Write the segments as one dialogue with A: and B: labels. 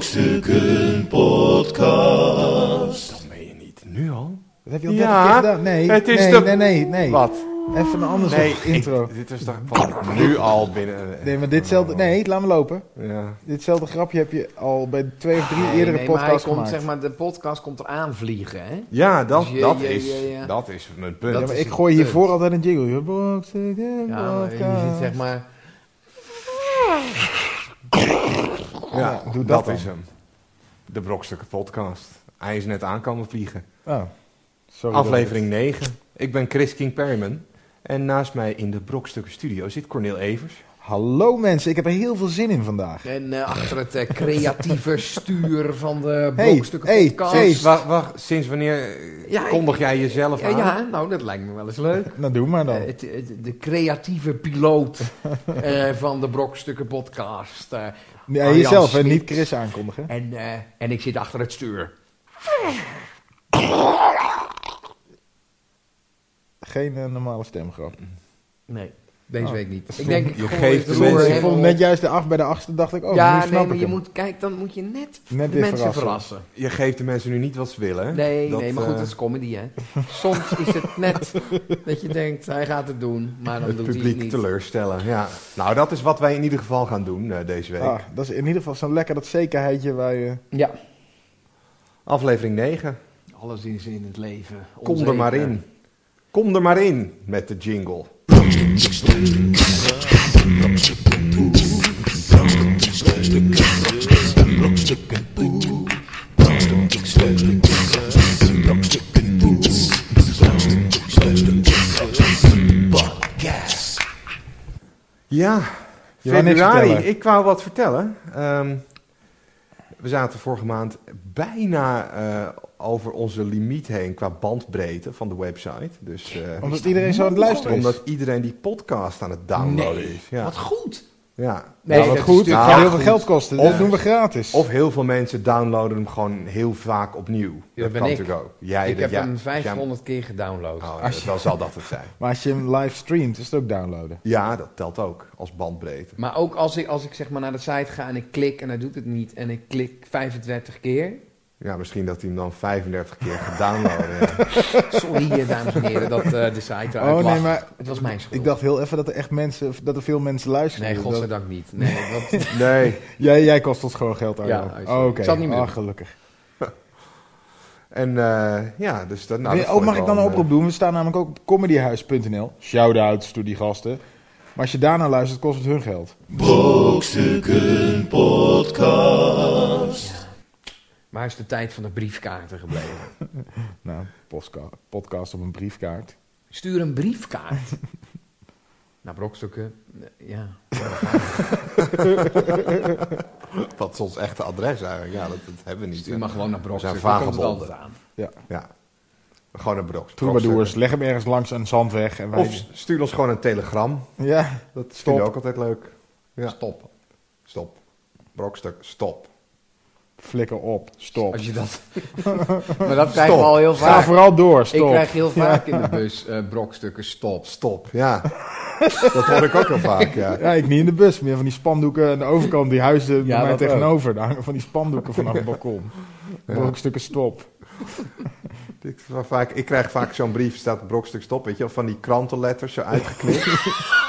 A: Brokstukken Podcast.
B: Dat meen je niet. Nu al?
C: Dat heb je al
B: Ja,
C: 30 keer gedaan. Nee,
B: het is
C: nee,
B: toch-
C: nee, nee, nee.
B: Wat?
C: Even een ander
B: Nee,
C: soort intro.
B: ik- dit is toch van nu al binnen...
C: Nee, maar ditzelfde...
D: Oh.
C: Nee, laat me lopen.
B: Ja.
C: Ditzelfde grapje heb je al bij twee of drie
D: Nee,
C: eerdere
D: nee, maar hij
C: podcasts
D: komt,
C: gemaakt.
D: Zeg maar, de podcast komt eraan vliegen, hè?
B: Ja, dat,
D: Dus je-
B: dat,
D: je-
B: is,
D: je- ja.
B: dat is mijn punt.
C: Ja,
D: dat
C: maar
D: is
C: ik
D: het
C: gooi
D: punt.
C: hiervoor altijd een jingle. joh. Brokstukken
D: Ja, maar je
C: podcast.
D: zit zeg maar...
B: Ja,
C: ja, doe
B: dat
C: dat dan.
B: is hem. De Brokstukken Podcast. Hij is net aankomen vliegen.
C: Oh, sorry dat
B: Aflevering 9. Ik ben Chris King Perryman. En naast mij in de Brokstukken Studio zit Cornel Evers.
C: ik het- Hallo mensen, ik heb er heel veel zin in vandaag.
D: En eh, achter het eh, creatieve stuur van de
C: Hey,
D: Brokstukken
C: hey,
D: Podcast.
C: hey,
B: Wacht, wacht, sinds wanneer eh,
D: Ja, ik-
B: kondig jij jezelf
D: Ja,
B: aan?
D: ja, nou, dat lijkt me wel eens leuk.
C: Nou, doe maar dan.
D: Eh, het, het- de creatieve piloot eh, van de Brokstukken Podcast. eh,
C: Ja,
D: Arjan
C: jezelf en
D: Smit.
C: niet Chris aankondigen.
D: en, eh, en ik zit achter het stuur.
C: Geen eh, normale stemgrap.
D: Nee, deze
C: Oh.
D: week niet. Ik denk, ik
B: Je
D: gooi
B: geeft
D: het
B: de
D: door,
B: mensen-
D: hè,
C: ik vond
D: want-
C: net juist de acht bij de achtste dacht ik, oh, nu
D: ja,
C: snap
D: nee,
C: ik
D: maar je
C: hem.
D: moet, kijk, dan moet je net,
C: Net
D: de
C: weer
D: mensen
C: verrassen.
D: verrassen.
B: Je geeft de mensen nu niet wat ze willen, hè?
D: Nee,
B: Dat,
D: nee, maar goed,
B: eh,
D: dat is comedy, hè. Soms is het net dat je denkt, hij gaat het doen, maar dan
B: het
D: doet hij het
B: publiek
D: niet.
B: teleurstellen. Ja. Nou, dat is wat wij in ieder geval gaan doen eh, deze week.
C: Ah, dat is in ieder geval zo'n lekker dat zekerheidje waar je...
D: Ja,
B: Aflevering 9.
D: alles is in het leven.
B: Kom er maar in. Kom er maar in met de jingle. Ja,
C: Je wou niks
B: februari.
C: vertellen.
B: Ik wou wat vertellen. Ehm, we zaten vorige maand bijna eh, over onze limiet heen qua bandbreedte van de website. Dus, eh,
C: Omdat iedereen zo aan het luisteren is.
B: omdat iedereen die podcast aan het downloaden is. Ja.
D: Wat goed.
B: Ja.
D: Nee,
C: ja,
D: dat
C: wat
D: is
C: goed, het
B: natuurlijk-
C: gaat
B: Ja,
C: heel veel
B: goed.
C: geld kosten.
B: Of-
C: dat doen we gratis.
B: Of heel veel mensen downloaden hem gewoon heel vaak opnieuw. dat
D: ben
B: kan
D: ik.
B: natuurlijk ook. Jij,
D: ik
B: dat-
D: heb
B: ja,
D: hem
B: als jij
D: 500 keer gedownload.
B: Oh, ja, dat- dan zal dat het zijn.
C: maar als je hem live streamt, is het ook downloaden.
B: Ja, dat telt ook als bandbreedte.
D: Maar ook als ik, als ik zeg maar naar de site ga en ik klik en hij doet het niet en ik klik 25 keer.
B: Ja, misschien dat hij hem dan 35 keer gaat downloaden. ja.
D: Sorry, eh, dames en heren, dat eh, de site eruit
C: Oh
D: lag.
C: nee, maar
D: Het was mijn schuld.
C: ik dacht heel even dat er echt mensen, dat er veel mensen luisteren.
D: nee,
C: Dat-
D: godzijdank niet. Nee, dat,
B: Nee.
C: Jij, jij kost ons gewoon geld, Arjan.
D: Ja, sorry.
C: oh, oké.
D: Ik zal het niet meer
C: Ah,
D: doen.
C: gelukkig.
B: En eh, ja, dus dat... Nou,
C: Wil-
B: dat vond
C: oh, mag ik dan
B: wel
C: een oproep doen? We staan namelijk ook op comedyhuis.nl. Shout-outs door die gasten. Maar als je daarna luistert, kost het hun geld.
A: Brokstukken Podcast.
D: maar is de tijd van de briefkaarten gebleven?
C: Nou, postka- podcast op een briefkaart.
D: Stuur een briefkaart. Naar brokstukken. eh, Ja.
B: Wat is ons echte adres eigenlijk? Ja, dat, dat hebben we niet.
D: Stuur maar Dus gewoon naar brokstukken.
B: zijn
D: daar komt het
B: vagebonden.
D: altijd aan.
B: Ja. Gewoon een brok.
C: Troubadours, leg hem ergens langs een zandweg. En wij...
B: Of stuur ons gewoon een telegram.
C: Ja,
B: Dat is
C: Stop.
B: ook altijd leuk. Ja.
D: Stop.
B: Stop. Brokstuk. Stop.
C: flikker op. Stop.
D: Als je dat... maar dat krijgen
B: Stop.
D: we al heel
C: Ga
D: vaak.
C: vooral door, stop.
D: Ik krijg heel vaak in de bus eh, brokstukken stop.
B: Stop. Ja. dat hoor ik ook al vaak. Ja.
C: Ja, ik niet in de bus meer. Van die spandoeken aan de overkant, die huizen
D: Ja,
C: bij mij
D: dat
C: tegenover. Daar hangen van die spandoeken vanaf het balkon.
B: Ja.
C: Brokstukken stop.
B: Ik, vaak, ik krijg vaak zo'n brief, staat brokstuk stop, weet je wel, van die krantenletters zo uitgeknipt.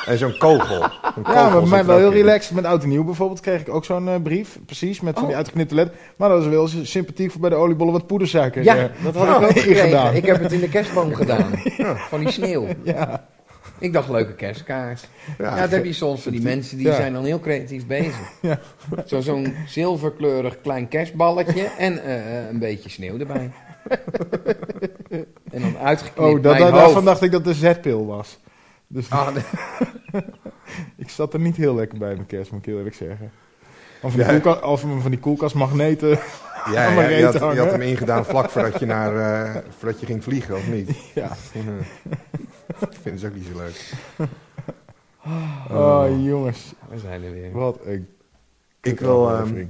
B: en zo'n kogel. Een kogel
C: Ja, Ah, maar
B: zit
C: mij
B: er
C: wel
B: ook
C: heel
B: in.
C: relaxed. Met Oud en Nieuw bijvoorbeeld kreeg ik ook zo'n eh, brief. Precies, met van
D: Oh.
C: die uitgeknipte letter. Maar dat is wel sy- sympathiek voor bij de oliebollen wat poedersuiker.
D: Ja,
C: eh,
D: dat had ik ook
C: ingedaan.
D: gekregen. Ik heb het in de kerstboom gedaan. Van die sneeuw.
C: Ja.
D: Ik dacht, leuke kerstkaart. Ja,
B: Ja.
D: dat heb je soms van die mensen die
C: Ja.
D: zijn dan heel creatief bezig.
C: Ja.
D: Zo- Zo'n zilverkleurig klein kerstballetje en eh, eh, een beetje sneeuw erbij. en dan uitgeknipt
C: Oh, dat,
D: mijn
C: dat,
D: hoofd.
C: daarvan dacht ik dat de zetpil was. Dus
D: Ah, nee.
C: ik zat er niet heel lekker bij met kerst, moet ik heel eerlijk zeggen. Of van die,
B: Ja.
C: koelkast, of van die koelkastmagneten.
B: Ja,
C: Aan
B: ja,
C: mijn
B: je,
C: reet
B: had, je
C: hangen.
B: had hem ingedaan vlak voordat je, naar, eh, voordat je ging vliegen, of niet?
C: Ja.
B: Dat vinden ze dus ook niet zo leuk.
C: Oh, jongens.
D: We zijn er weer.
C: Wat een
B: Ik wil, ehm,
C: aflevering.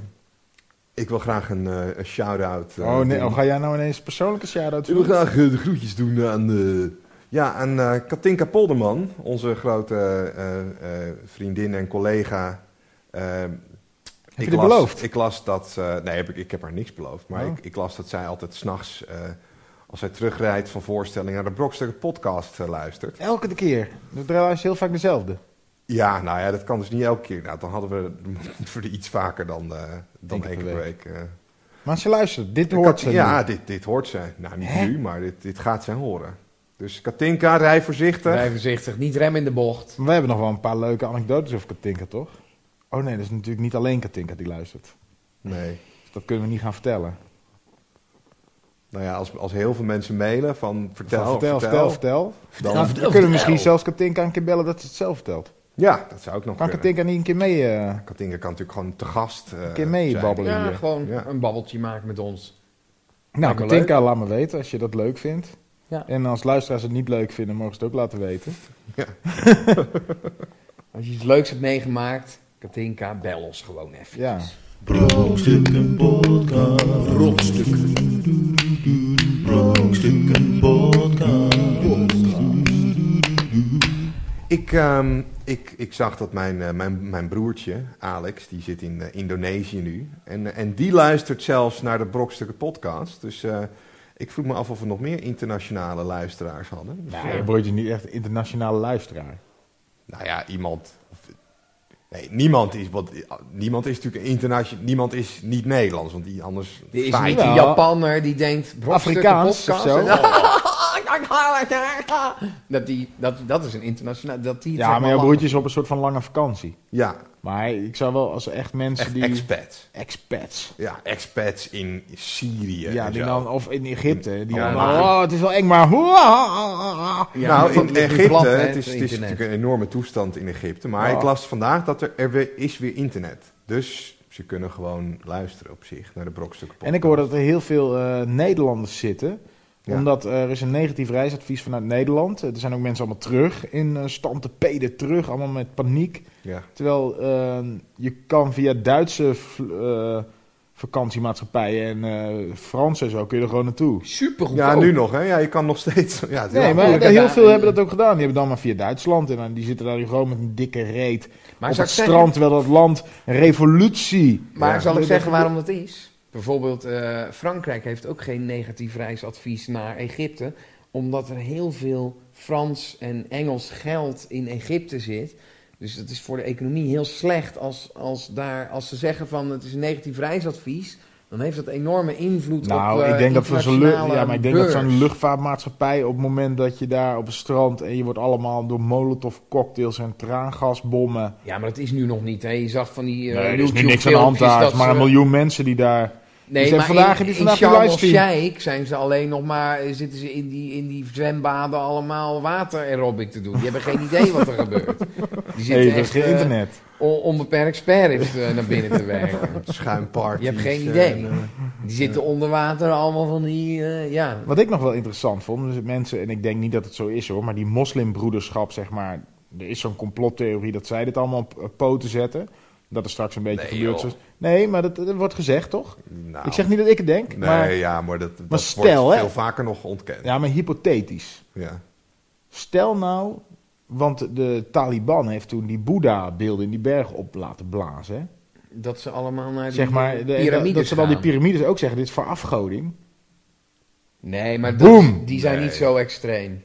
C: ik
B: Ik wil graag een, eh, een shout-out. eh,
C: Oh nee,
B: doen.
C: oh, ga jij nou ineens persoonlijke shout-out
B: Ik wil
C: doen?
B: graag eh, de groetjes doen aan, eh, ja, aan eh, Katinka Polderman, onze grote eh, eh, vriendin en collega. eh,
C: je
B: Ehm, ik
C: dit
B: las,
C: beloofd?
B: Ik las dat... eh, nee, heb ik, ik heb haar niks beloofd. Maar
C: Oh.
B: ik, ik las dat zij altijd s'nachts... eh als zij terugrijdt van voorstellingen naar de Brokstukken podcast eh, luistert.
C: Elke keer. Dat is heel vaak dezelfde.
B: Ja, nou ja, dat kan dus niet elke keer. Nou, dan hadden we voor de iets vaker dan, eh dan één keer per week. eh.
C: Maar ze luistert. Dit hoort ze
B: ja,
C: nu.
B: dit, dit hoort zij. Nou, niet nu, maar dit, dit gaat zij horen. Dus Katinka, rij voorzichtig.
D: Blijf voorzichtig, niet rem in de bocht.
C: Maar we hebben nog wel een paar leuke anekdotes over Katinka, toch? Oh nee, dat is natuurlijk niet alleen Katinka die luistert.
B: Nee.
C: Dus dat kunnen we niet gaan vertellen.
B: Nou ja, als, als heel veel mensen mailen van vertel,
C: Van
B: vertel,
C: vertel, vertel.
B: dan-
C: Dan
D: vertel,
C: kunnen we
D: vertel.
C: misschien zelfs Katinka een keer bellen dat ze het zelf vertelt.
B: Ja, dat zou ook nog
C: Kan
B: kunnen.
C: Katinka niet een keer mee? eh,
B: Katinka kan natuurlijk gewoon te gast eh,
C: Een keer mee
B: zijn.
C: babbelen.
D: Ja,
C: hier.
D: gewoon
B: Ja.
D: een babbeltje maken met ons.
C: Nou,
D: me
C: Katinka, laat me weten als je dat leuk vindt.
D: Ja.
C: En als luisteraars het niet leuk vinden, mogen ze het ook laten weten.
D: Als je iets leuks hebt meegemaakt, Katinka, bel ons gewoon even.
C: Ja.
A: Brokstukken podcast. Brokstukken. Brokstukken podcast.
B: Ik, ehm, ik, ik zag dat mijn, eh, mijn, mijn broertje, Alex, die zit in eh, Indonesië nu. En, eh, en die luistert zelfs naar de Brokstukken podcast. Dus eh, ik vroeg me af of we nog meer internationale luisteraars hadden. Dus,
C: Nou,
B: eh,
C: je wordt je niet echt een internationale luisteraar.
B: Nou ja, iemand. of- nee, niemand is. Want, niemand is natuurlijk internationaal. Niemand is niet Nederlands. Want die anders.
D: Er is
B: feit-
D: niet een
C: Ja.
D: Japanner die denkt...
C: Afrikaans of zo.
D: Dat, die, dat, dat is een internationaal... Dat die het
C: Ja,
D: zeg
C: maar jouw
D: lachen.
C: broertje is op een soort van lange vakantie.
B: Ja,
C: Maar ik zou wel als echt mensen
B: echt
C: die...
B: expats.
C: expats.
B: Ja, expats in Syrië.
C: Ja,
B: en
C: die
B: zo.
C: dan, of in Egypte. Die
B: Ja,
C: dan,
D: maar-
C: oh, het is wel eng, maar...
D: Ja,
B: nou,
D: maar
B: in
D: dat ligt
B: Egypte,
D: plat, hè,
B: het is, het is
D: internet.
B: natuurlijk een enorme toestand in Egypte. Maar
C: Ja.
B: ik las vandaag dat er, er weer, is weer internet. Dus ze kunnen gewoon luisteren op zich naar de brokstukken
C: En ik hoor dat er heel veel eh, Nederlanders zitten.
B: Ja.
C: Omdat eh, er is een negatief reisadvies vanuit Nederland. Eh, Er zijn ook mensen allemaal terug in eh stand te peden terug. Allemaal met paniek.
B: Ja,
C: Terwijl eh, je kan via Duitse vl- eh, vakantiemaatschappijen en eh Franse en zo kun je er gewoon naartoe.
D: Supergoed
B: ja
D: ook.
B: nu nog, hè? Ja, je kan nog steeds. Ja, het is wel
C: Nee, maar
D: moeilijk, hè,
C: heel
D: daar-
C: veel hebben dat ook gedaan. Die hebben dan maar via Duitsland. En dan- die zitten daar gewoon met een dikke reet
D: Maar
C: op
D: zou
C: het
D: ik
C: strand. Terwijl dat land een revolutie...
D: Maar
B: Ja.
D: zal ik
C: Dat-
D: zeggen
C: dat-
D: waarom dat is? Bijvoorbeeld eh, Frankrijk heeft ook geen negatief reisadvies naar Egypte, omdat er heel veel Frans en Engels geld in Egypte zit. Dus dat is voor de economie heel slecht als, als, daar, als ze zeggen van het is een negatief reisadvies. Dan heeft dat enorme invloed op
C: Nou,
D: eh,
C: ik denk, dat, voor zo'n lu-
D: internationale
C: ja, maar ik denk dat
D: beurs.
C: zo'n luchtvaartmaatschappij op het moment dat je daar op het strand en je wordt allemaal door molotov cocktails en traangasbommen.
D: Ja, maar dat is nu nog niet. Hè. Je zag van die eh
C: nee, er is nu
D: YouTube
C: niks aan de hand
D: filmpjes
C: daar. Het is
D: dat
C: maar een
D: ze-
C: miljoen mensen die daar.
D: Nee,
C: Dus
D: maar
C: vandaag heb
D: in,
C: je
D: in
C: vandaag die
D: Sharm el
C: livestream.
D: Sheikh zijn ze alleen nog maar, eh, zitten ze in die, in die zwembaden allemaal water aerobic te doen. Die hebben geen idee wat er gebeurt. Die
C: Nee,
D: zitten
C: er is
D: echt
C: geen
D: eh,
C: internet.
D: on- onbeperkt sperrips eh, naar binnen te werken.
B: schuimparties.
D: Je hebt geen
B: eh,
D: idee.
B: en, eh,
D: Die zitten onder water allemaal van die, eh, ja.
C: Wat ik nog wel interessant vond, dus mensen, en ik denk niet dat het zo is hoor, maar die moslimbroederschap, zeg maar. Er is zo'n complottheorie dat zij dit allemaal op eh, poten zetten. Dat er straks een beetje
B: Nee,
C: gebeurd
B: joh.
C: is. Nee, maar dat, dat wordt gezegd toch?
B: nou,
C: Ik zeg niet dat ik het denk,
B: Nee,
C: maar,
B: ja, maar dat, dat
C: stel,
B: wordt
C: hè?
B: veel vaker nog ontkend.
C: ja, maar hypothetisch.
B: ja.
C: Stel nou, want de Taliban heeft toen die Boeddha-beelden in die berg op laten blazen. hè.
D: Dat ze allemaal naar die
C: Zeg maar, de-
D: piramides
C: dat, dat ze dan die
D: gaan.
C: piramides ook zeggen, dit is voor afgoding.
D: Nee, maar dat,
C: Boom!
D: die zijn
B: Nee.
D: niet zo extreem.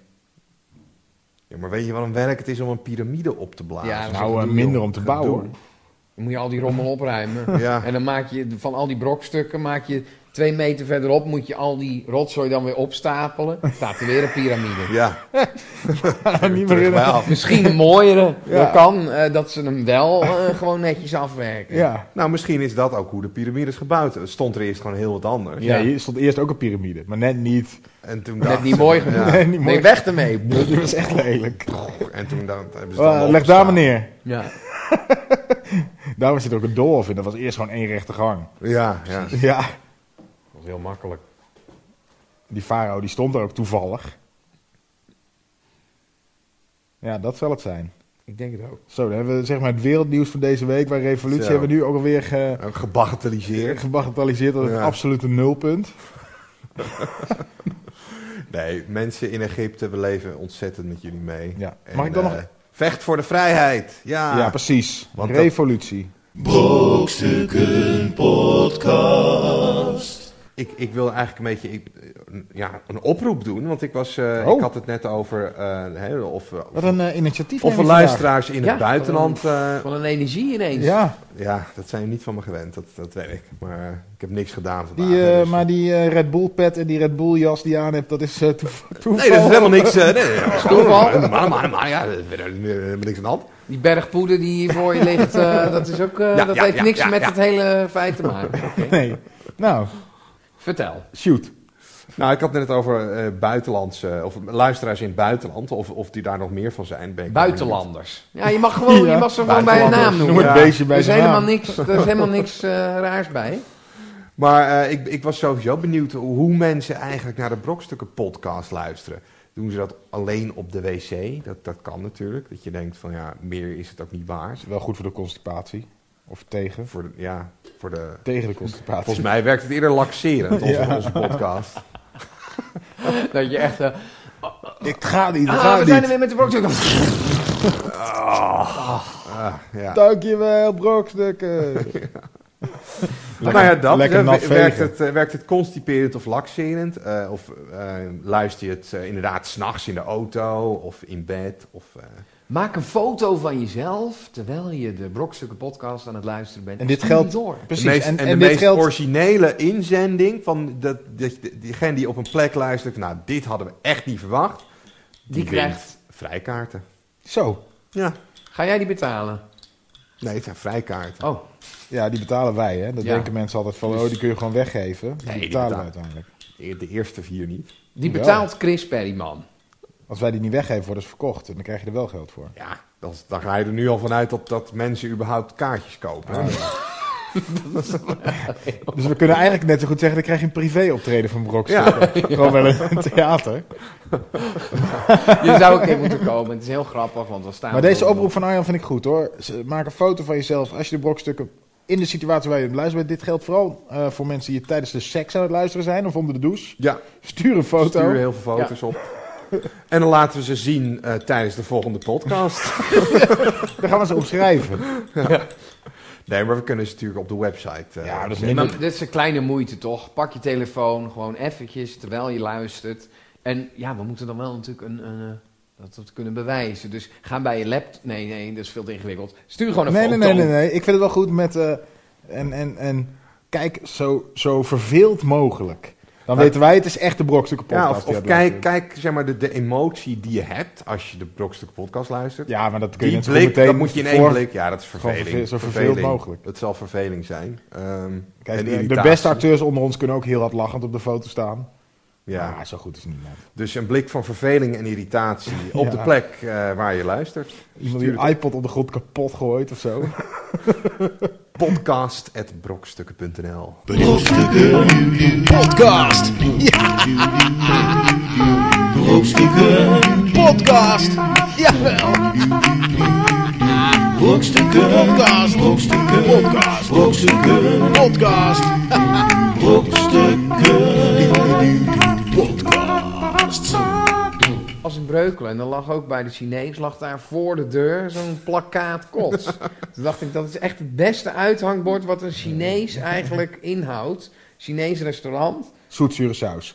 B: Ja, maar weet je wat een werk het is om een piramide op te blazen?
D: Ja,
C: nou,
D: gedoe,
C: eh, minder
D: joh.
C: om te
B: Gedoe.
C: bouwen. hoor.
D: Dan moet je al die rommel opruimen.
B: Ja.
D: En dan maak je van al die brokstukken, maak je twee meter verderop, moet je al die rotzooi dan weer opstapelen. Staat er weer een piramide.
B: Ja,
C: Niet meer
B: terug
C: in-
B: bij af.
D: Misschien een mooiere.
C: Ja.
D: Dat kan eh, dat ze hem wel eh, gewoon netjes afwerken.
C: Ja.
B: Nou, misschien is dat ook hoe de piramides gebouwd zijn. Het stond er eerst gewoon heel wat anders.
C: Ja,
D: Ja.
C: hier stond eerst ook een piramide, maar net niet.
B: En toen
D: Net
B: dacht
D: niet mooi genoeg.
B: ja,
C: Nee, niet mooi.
D: Nee, weg ermee.
C: Dat was echt lelijk.
B: En toen dan, hebben ze
C: Eh,
B: het allemaal
C: leg daar
B: opgestaan.
C: maar neer.
D: Ja.
C: Daar was het ook een doolhof in. Dat was eerst gewoon één rechte gang.
B: Ja, ja.
C: Ja.
D: Dat is heel makkelijk.
C: Die farao die stond er ook toevallig. Ja, dat zal het zijn.
D: Ik denk het ook.
C: Zo, dan hebben we zeg maar het wereldnieuws van deze week. Waar revolutie
B: Zo.
C: hebben we nu ook alweer ge,
B: En Gebagatelliseerd.
C: gebagatelliseerd als het
B: Ja.
C: absolute nulpunt.
B: Nee, mensen in Egypte, we leven ontzettend met jullie mee.
C: Ja.
B: En,
C: Mag ik dan
B: eh,
C: nog... Ah.
B: Vecht voor de vrijheid. Ja.
C: Ja, precies.
B: Want dat-
C: Revolutie.
A: Brokstukken Podcast.
B: Ik, ik wil eigenlijk een beetje ik, eh, ja, een oproep doen, want ik, was, eh,
C: Oh.
B: ik had het net over eh, hè, of, we-
C: Wat
B: of,
C: een eh, initiatief.
B: of we
C: neem je vandaag.
B: luisteraars in
D: Ja,
B: het buitenland. eh,
D: Van een energie ineens.
C: Ja,
B: ja, dat zijn niet van me gewend, dat, dat weet ik. Maar eh, ik heb niks gedaan vandaag.
C: die, eh,
B: hè, dus-
C: maar die eh, Red Bull pet en die Red Bull jas die je aan hebt, dat is eh, toev- toeval.
B: Nee, dat is helemaal niks. eh, nee, nee, dat is
D: Toeval.
B: gewoon- Maar, maar, maar ja, er is verder helemaal niks aan de hand.
D: Die bergpoeder die hier voor je ligt, eh, dat, is ook, eh,
B: Ja,
D: dat
B: ja,
D: heeft
B: ja,
D: niks
B: ja,
D: met
B: ja.
D: het hele feit te maken.
C: Nee. Nou,
D: Vertel.
C: shoot.
B: Nou, ik had net over eh buitenlandse, of luisteraars in het buitenland, of, of die daar nog meer van zijn. Ben ik
D: Buitenlanders. Ja, je mag, gewoon, je
C: Ja.
D: mag ze gewoon bij een naam
B: Buitenlanders.
C: Noem
D: noemen.
C: het
B: Ja.
C: beestje
D: Er
C: bij
D: is
C: zijn
D: helemaal
C: naam.
D: niks, er is helemaal niks eh, raars bij.
B: Maar eh, ik, ik was sowieso benieuwd hoe mensen eigenlijk naar de Brokstukken podcast luisteren. Doen ze dat alleen op de wc? Dat, dat kan natuurlijk. Dat je denkt van ja, meer is het ook niet waard.
C: Is wel goed voor de constipatie. Of tegen.
B: Voor de, ja, voor de...
C: Tegen de constipatie.
B: Volgens mij werkt het eerder laxerend, onze, onze podcast.
D: Dat je echt... eh,
C: Ik ga niet, ik
D: ah,
C: ga
D: we zijn
C: niet.
D: er weer met de brokstukken.
B: Ah, ja.
C: Dankjewel, brokstukken.
B: nou ja, dat.
C: lekker
B: hè.
C: nat
B: werkt,
C: vegen.
B: het, eh, werkt het constiperend of laxerend? Eh, of eh, luister je het eh, inderdaad s'nachts in de auto of in bed? Of, eh,
D: Maak een foto van jezelf terwijl je de brokstukken podcast aan het luisteren bent.
C: En dit
D: Stuur die
C: geldt-
D: door.
C: Precies.
B: de meest,
C: en
B: en,
C: en
B: de
C: dit
B: meest
C: geldt...
B: originele inzending van dat, dat, diegene die op een plek luistert. van, Nou, dit hadden we echt niet verwacht.
D: Die
B: wint
D: krijgt-
B: vrijkaarten.
C: Zo.
B: Ja,
D: Ga jij die betalen?
B: nee, het zijn vrijkaarten.
D: Oh,
C: Ja, die betalen wij, hè. Dat
D: Ja.
C: denken mensen altijd van, oh, die kun je gewoon weggeven. Die
B: Nee, die
C: betalen
B: betaal-
C: we uiteindelijk.
B: De de eerste vier niet.
D: die
C: Ja.
D: betaalt Chris Perryman.
C: Als wij die niet weggeven, worden ze verkocht. En dan krijg je er wel geld voor.
B: Ja, dan, dan ga je er nu al vanuit dat, dat mensen überhaupt kaartjes kopen.
C: Ah,
B: hè.
C: Dus we kunnen eigenlijk net zo goed zeggen, dan krijg je een privé-optreden van brokstukken. Gewoon wel een theater.
D: Je zou een keer moeten komen. Het is heel grappig, want we staan...
C: Maar deze
D: op-
C: oproep van Arjan vind ik goed hoor. Z- Maak een foto van jezelf als je de brokstukken in de situatie waar je het luistert bent. Dit geldt vooral eh, voor mensen die tijdens de seks aan het luisteren zijn of onder de douche.
B: Ja,
C: Stuur een foto.
B: Stuur heel veel foto's op. En dan laten we ze zien eh, tijdens de volgende podcast.
C: Dan gaan we ze opschrijven.
B: nee, maar we kunnen ze natuurlijk op de website. eh,
C: Ja,
B: zetten.
C: dat is
D: Nee, maar
C: minder.
D: dit is een kleine moeite toch? Pak je telefoon gewoon eventjes terwijl je luistert. En ja, we moeten dan wel natuurlijk een, een, eh, dat, dat kunnen bewijzen. Dus ga bij je laptop. Nee, nee, dat is veel te ingewikkeld. Stuur gewoon een
C: Nee, nee,
D: foto.
C: nee, nee, nee. Ik vind het wel goed met. eh, en, en, en kijk zo, zo verveeld mogelijk. Dan
B: Ja.
C: weten wij, het is echt de brokstukken
B: Ja,
C: podcast.
B: of,
C: die
B: of
C: uit luistert.
B: kijk, kijk zeg maar, de, de emotie die je hebt als je de Brokstuk podcast luistert.
C: Ja, maar dat kun je
B: die
C: net zo goed
B: blik,
C: meteen.
B: dat moet je in één
C: voor-
B: blik. Ja, dat is
C: Gewoon
B: verveling.
C: verve- zo verveeld
B: Verveling.
C: mogelijk.
B: Het zal verveling zijn. Ehm,
C: Kijk,
B: en
C: de- de,
B: irritatie.
C: beste acteurs onder ons kunnen ook heel hard lachend op de foto staan.
B: Ja.
C: Maar zo goed is het niet. net.
B: Dus een blik van verveling en irritatie op
C: Ja.
B: de plek eh, waar je luistert.
C: Iemand die een iPod op de grond kapot gooit of zo.
B: Podcast.brokstukken.nl
A: Brokstukken
E: Podcast.
A: Brokstukken
E: Podcast. Jawel.
A: Brokstukken
E: Podcast.
A: Brokstukken
E: Podcast.
A: Brokstukken
E: Podcast.
A: Brokstukken Podcast
D: Als in Breukelen. En dan lag ook bij de Chinees, lag daar voor de deur zo'n plakkaat kots. Toen dacht ik, dat is echt het beste uithangbord wat een Chinees eigenlijk inhoudt. Chinees restaurant.
C: Zoetzure saus.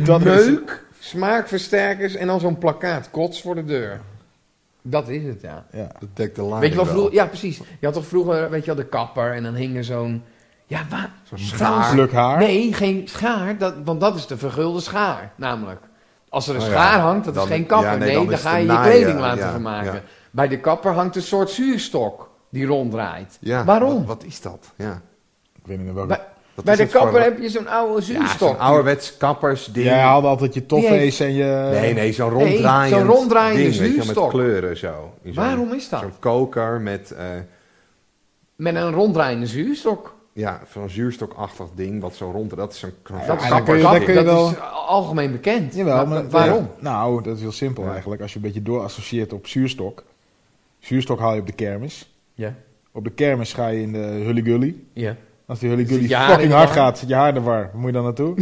C: Dat is
D: meuk, smaakversterkers en dan zo'n plakkaat kots voor de deur. Dat is het, ja.
C: Ja.
B: Dat dekt de lading
D: Weet je wel,
B: Ah, wel.
D: vroeger, ja precies. Je had toch vroeger, weet je wel, de kapper en dan hing er zo'n, ja waar?
B: Zo'n schaar.
C: Pluk haar.
D: Nee, geen schaar, dat, want dat is de vergulde schaar, namelijk. Als er een
B: Oh ja,
D: schaar hangt, dat
B: dan-
D: is geen kapper.
B: ja, nee,
D: nee,
B: dan
D: dan,
B: is
D: ga
B: het
D: je
B: een
D: je
B: naaier,
D: kleding laten
B: ja,
D: vermaken.
B: ja.
D: Bij de kapper hangt een soort zuurstok die ronddraait.
B: Ja,
D: Waarom?
B: Wat, wat is dat? Ja.
C: Ik weet niet meer welke.
D: bij
B: Wat
D: bij
B: is
D: de
B: het voor-
D: kapper heb je zo'n oude
B: Ja,
D: zuurstok.
B: zo'n ouderwets kappersding.
C: Jij haalde altijd je
D: Die heeft-
C: toffees en je...
B: nee, nee, zo'n ronddraaiend
D: eh, zo'n ronddraaiende
B: ding, weet je, wel,
D: zuurstok.
B: met kleuren zo. In zo'n-
D: Waarom is dat?
B: Zo'n koker met eh,
D: Met een ronddraaiende zuurstok.
B: ja, zo'n zuurstokachtig ding, wat zo rond... Dat is zo'n zo'n
D: Dat is,
C: daar kun je-
D: dat,
C: daar kun je
D: dat
C: wel-
D: is algemeen bekend.
C: Jawel,
D: Maar-
C: maar,
D: waarom?
C: Ja. nou, dat is heel simpel eigenlijk. Als je een beetje doorassocieert op zuurstok. Zuurstok haal je op de kermis.
D: Ja.
C: Op de kermis ga je in de hulligully.
D: ja.
C: Als die
D: Zit
C: hulligully
D: je haar in
C: fucking
D: de
C: hard
D: war?
C: gaat, zit je haar in de war. Waar Moet je dan naartoe?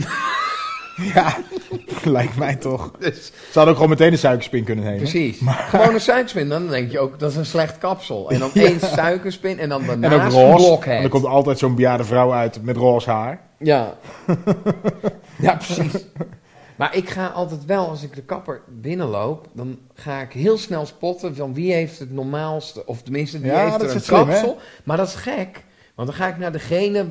C: Ja, lijkt mij toch.
D: Dus,
C: Ze hadden ook gewoon meteen een suikerspin kunnen nemen.
D: precies. Gewoon een suikerspin, dan denk je ook, dat is een slecht kapsel. En dan één suikerspin en dan
C: En ook
D: daarnaast
C: roze.
D: Blockhead.
C: En er komt altijd zo'n bejaarde vrouw uit met roze haar.
D: Ja. ja, precies. Maar ik ga altijd wel, als ik de kapper binnenloop, dan ga ik heel snel spotten van wie heeft het normaalste, of tenminste wie
C: Ja,
D: heeft
C: dat
D: er
C: is
D: een
C: het slim, hè?
D: kapsel. maar dat is gek, want dan ga ik naar degene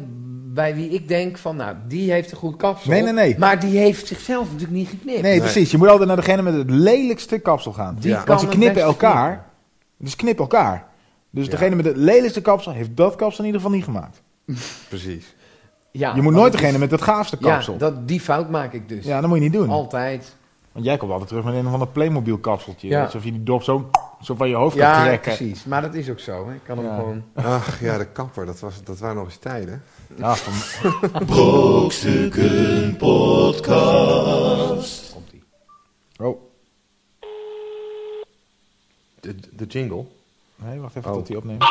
D: bij wie ik denk van, nou, die heeft een goed kapsel.
C: Nee, nee, nee.
D: Maar die heeft zichzelf natuurlijk niet geknipt.
C: Nee, precies. Je moet altijd naar degene met het lelijkste kapsel gaan.
D: Die
B: Ja.
D: kan
C: Want ze
D: het
C: knippen
D: best
C: elkaar.
D: knippen.
C: Dus knippen elkaar. Dus
B: Ja.
C: degene met het lelijkste kapsel heeft dat kapsel in ieder geval niet gemaakt.
B: Precies.
D: Ja,
C: je moet
D: want
C: nooit
D: het
C: degene
D: is-
C: met het gaafste kapsel.
D: Ja,
C: Ja,
D: dat, die fout maak ik dus.
C: dat moet je niet doen.
D: Altijd.
C: Want jij komt altijd terug met een of ander Playmobil kapseltje.
D: Ja.
C: Alsof je die dop zo, zo van je hoofd kan
D: Ja,
C: trekken.
D: precies. Maar dat is ook zo. Hè. Ik kan hem
C: Ja.
D: gewoon...
B: Ach ja, de kapper, dat, was, dat waren nog eens tijden.
C: Ja, van-
A: Brokstukken Podcast.
D: Komt-ie.
C: Oh,
B: De, de jingle.
C: nee, wacht even
B: Oh.
C: tot hij opneemt.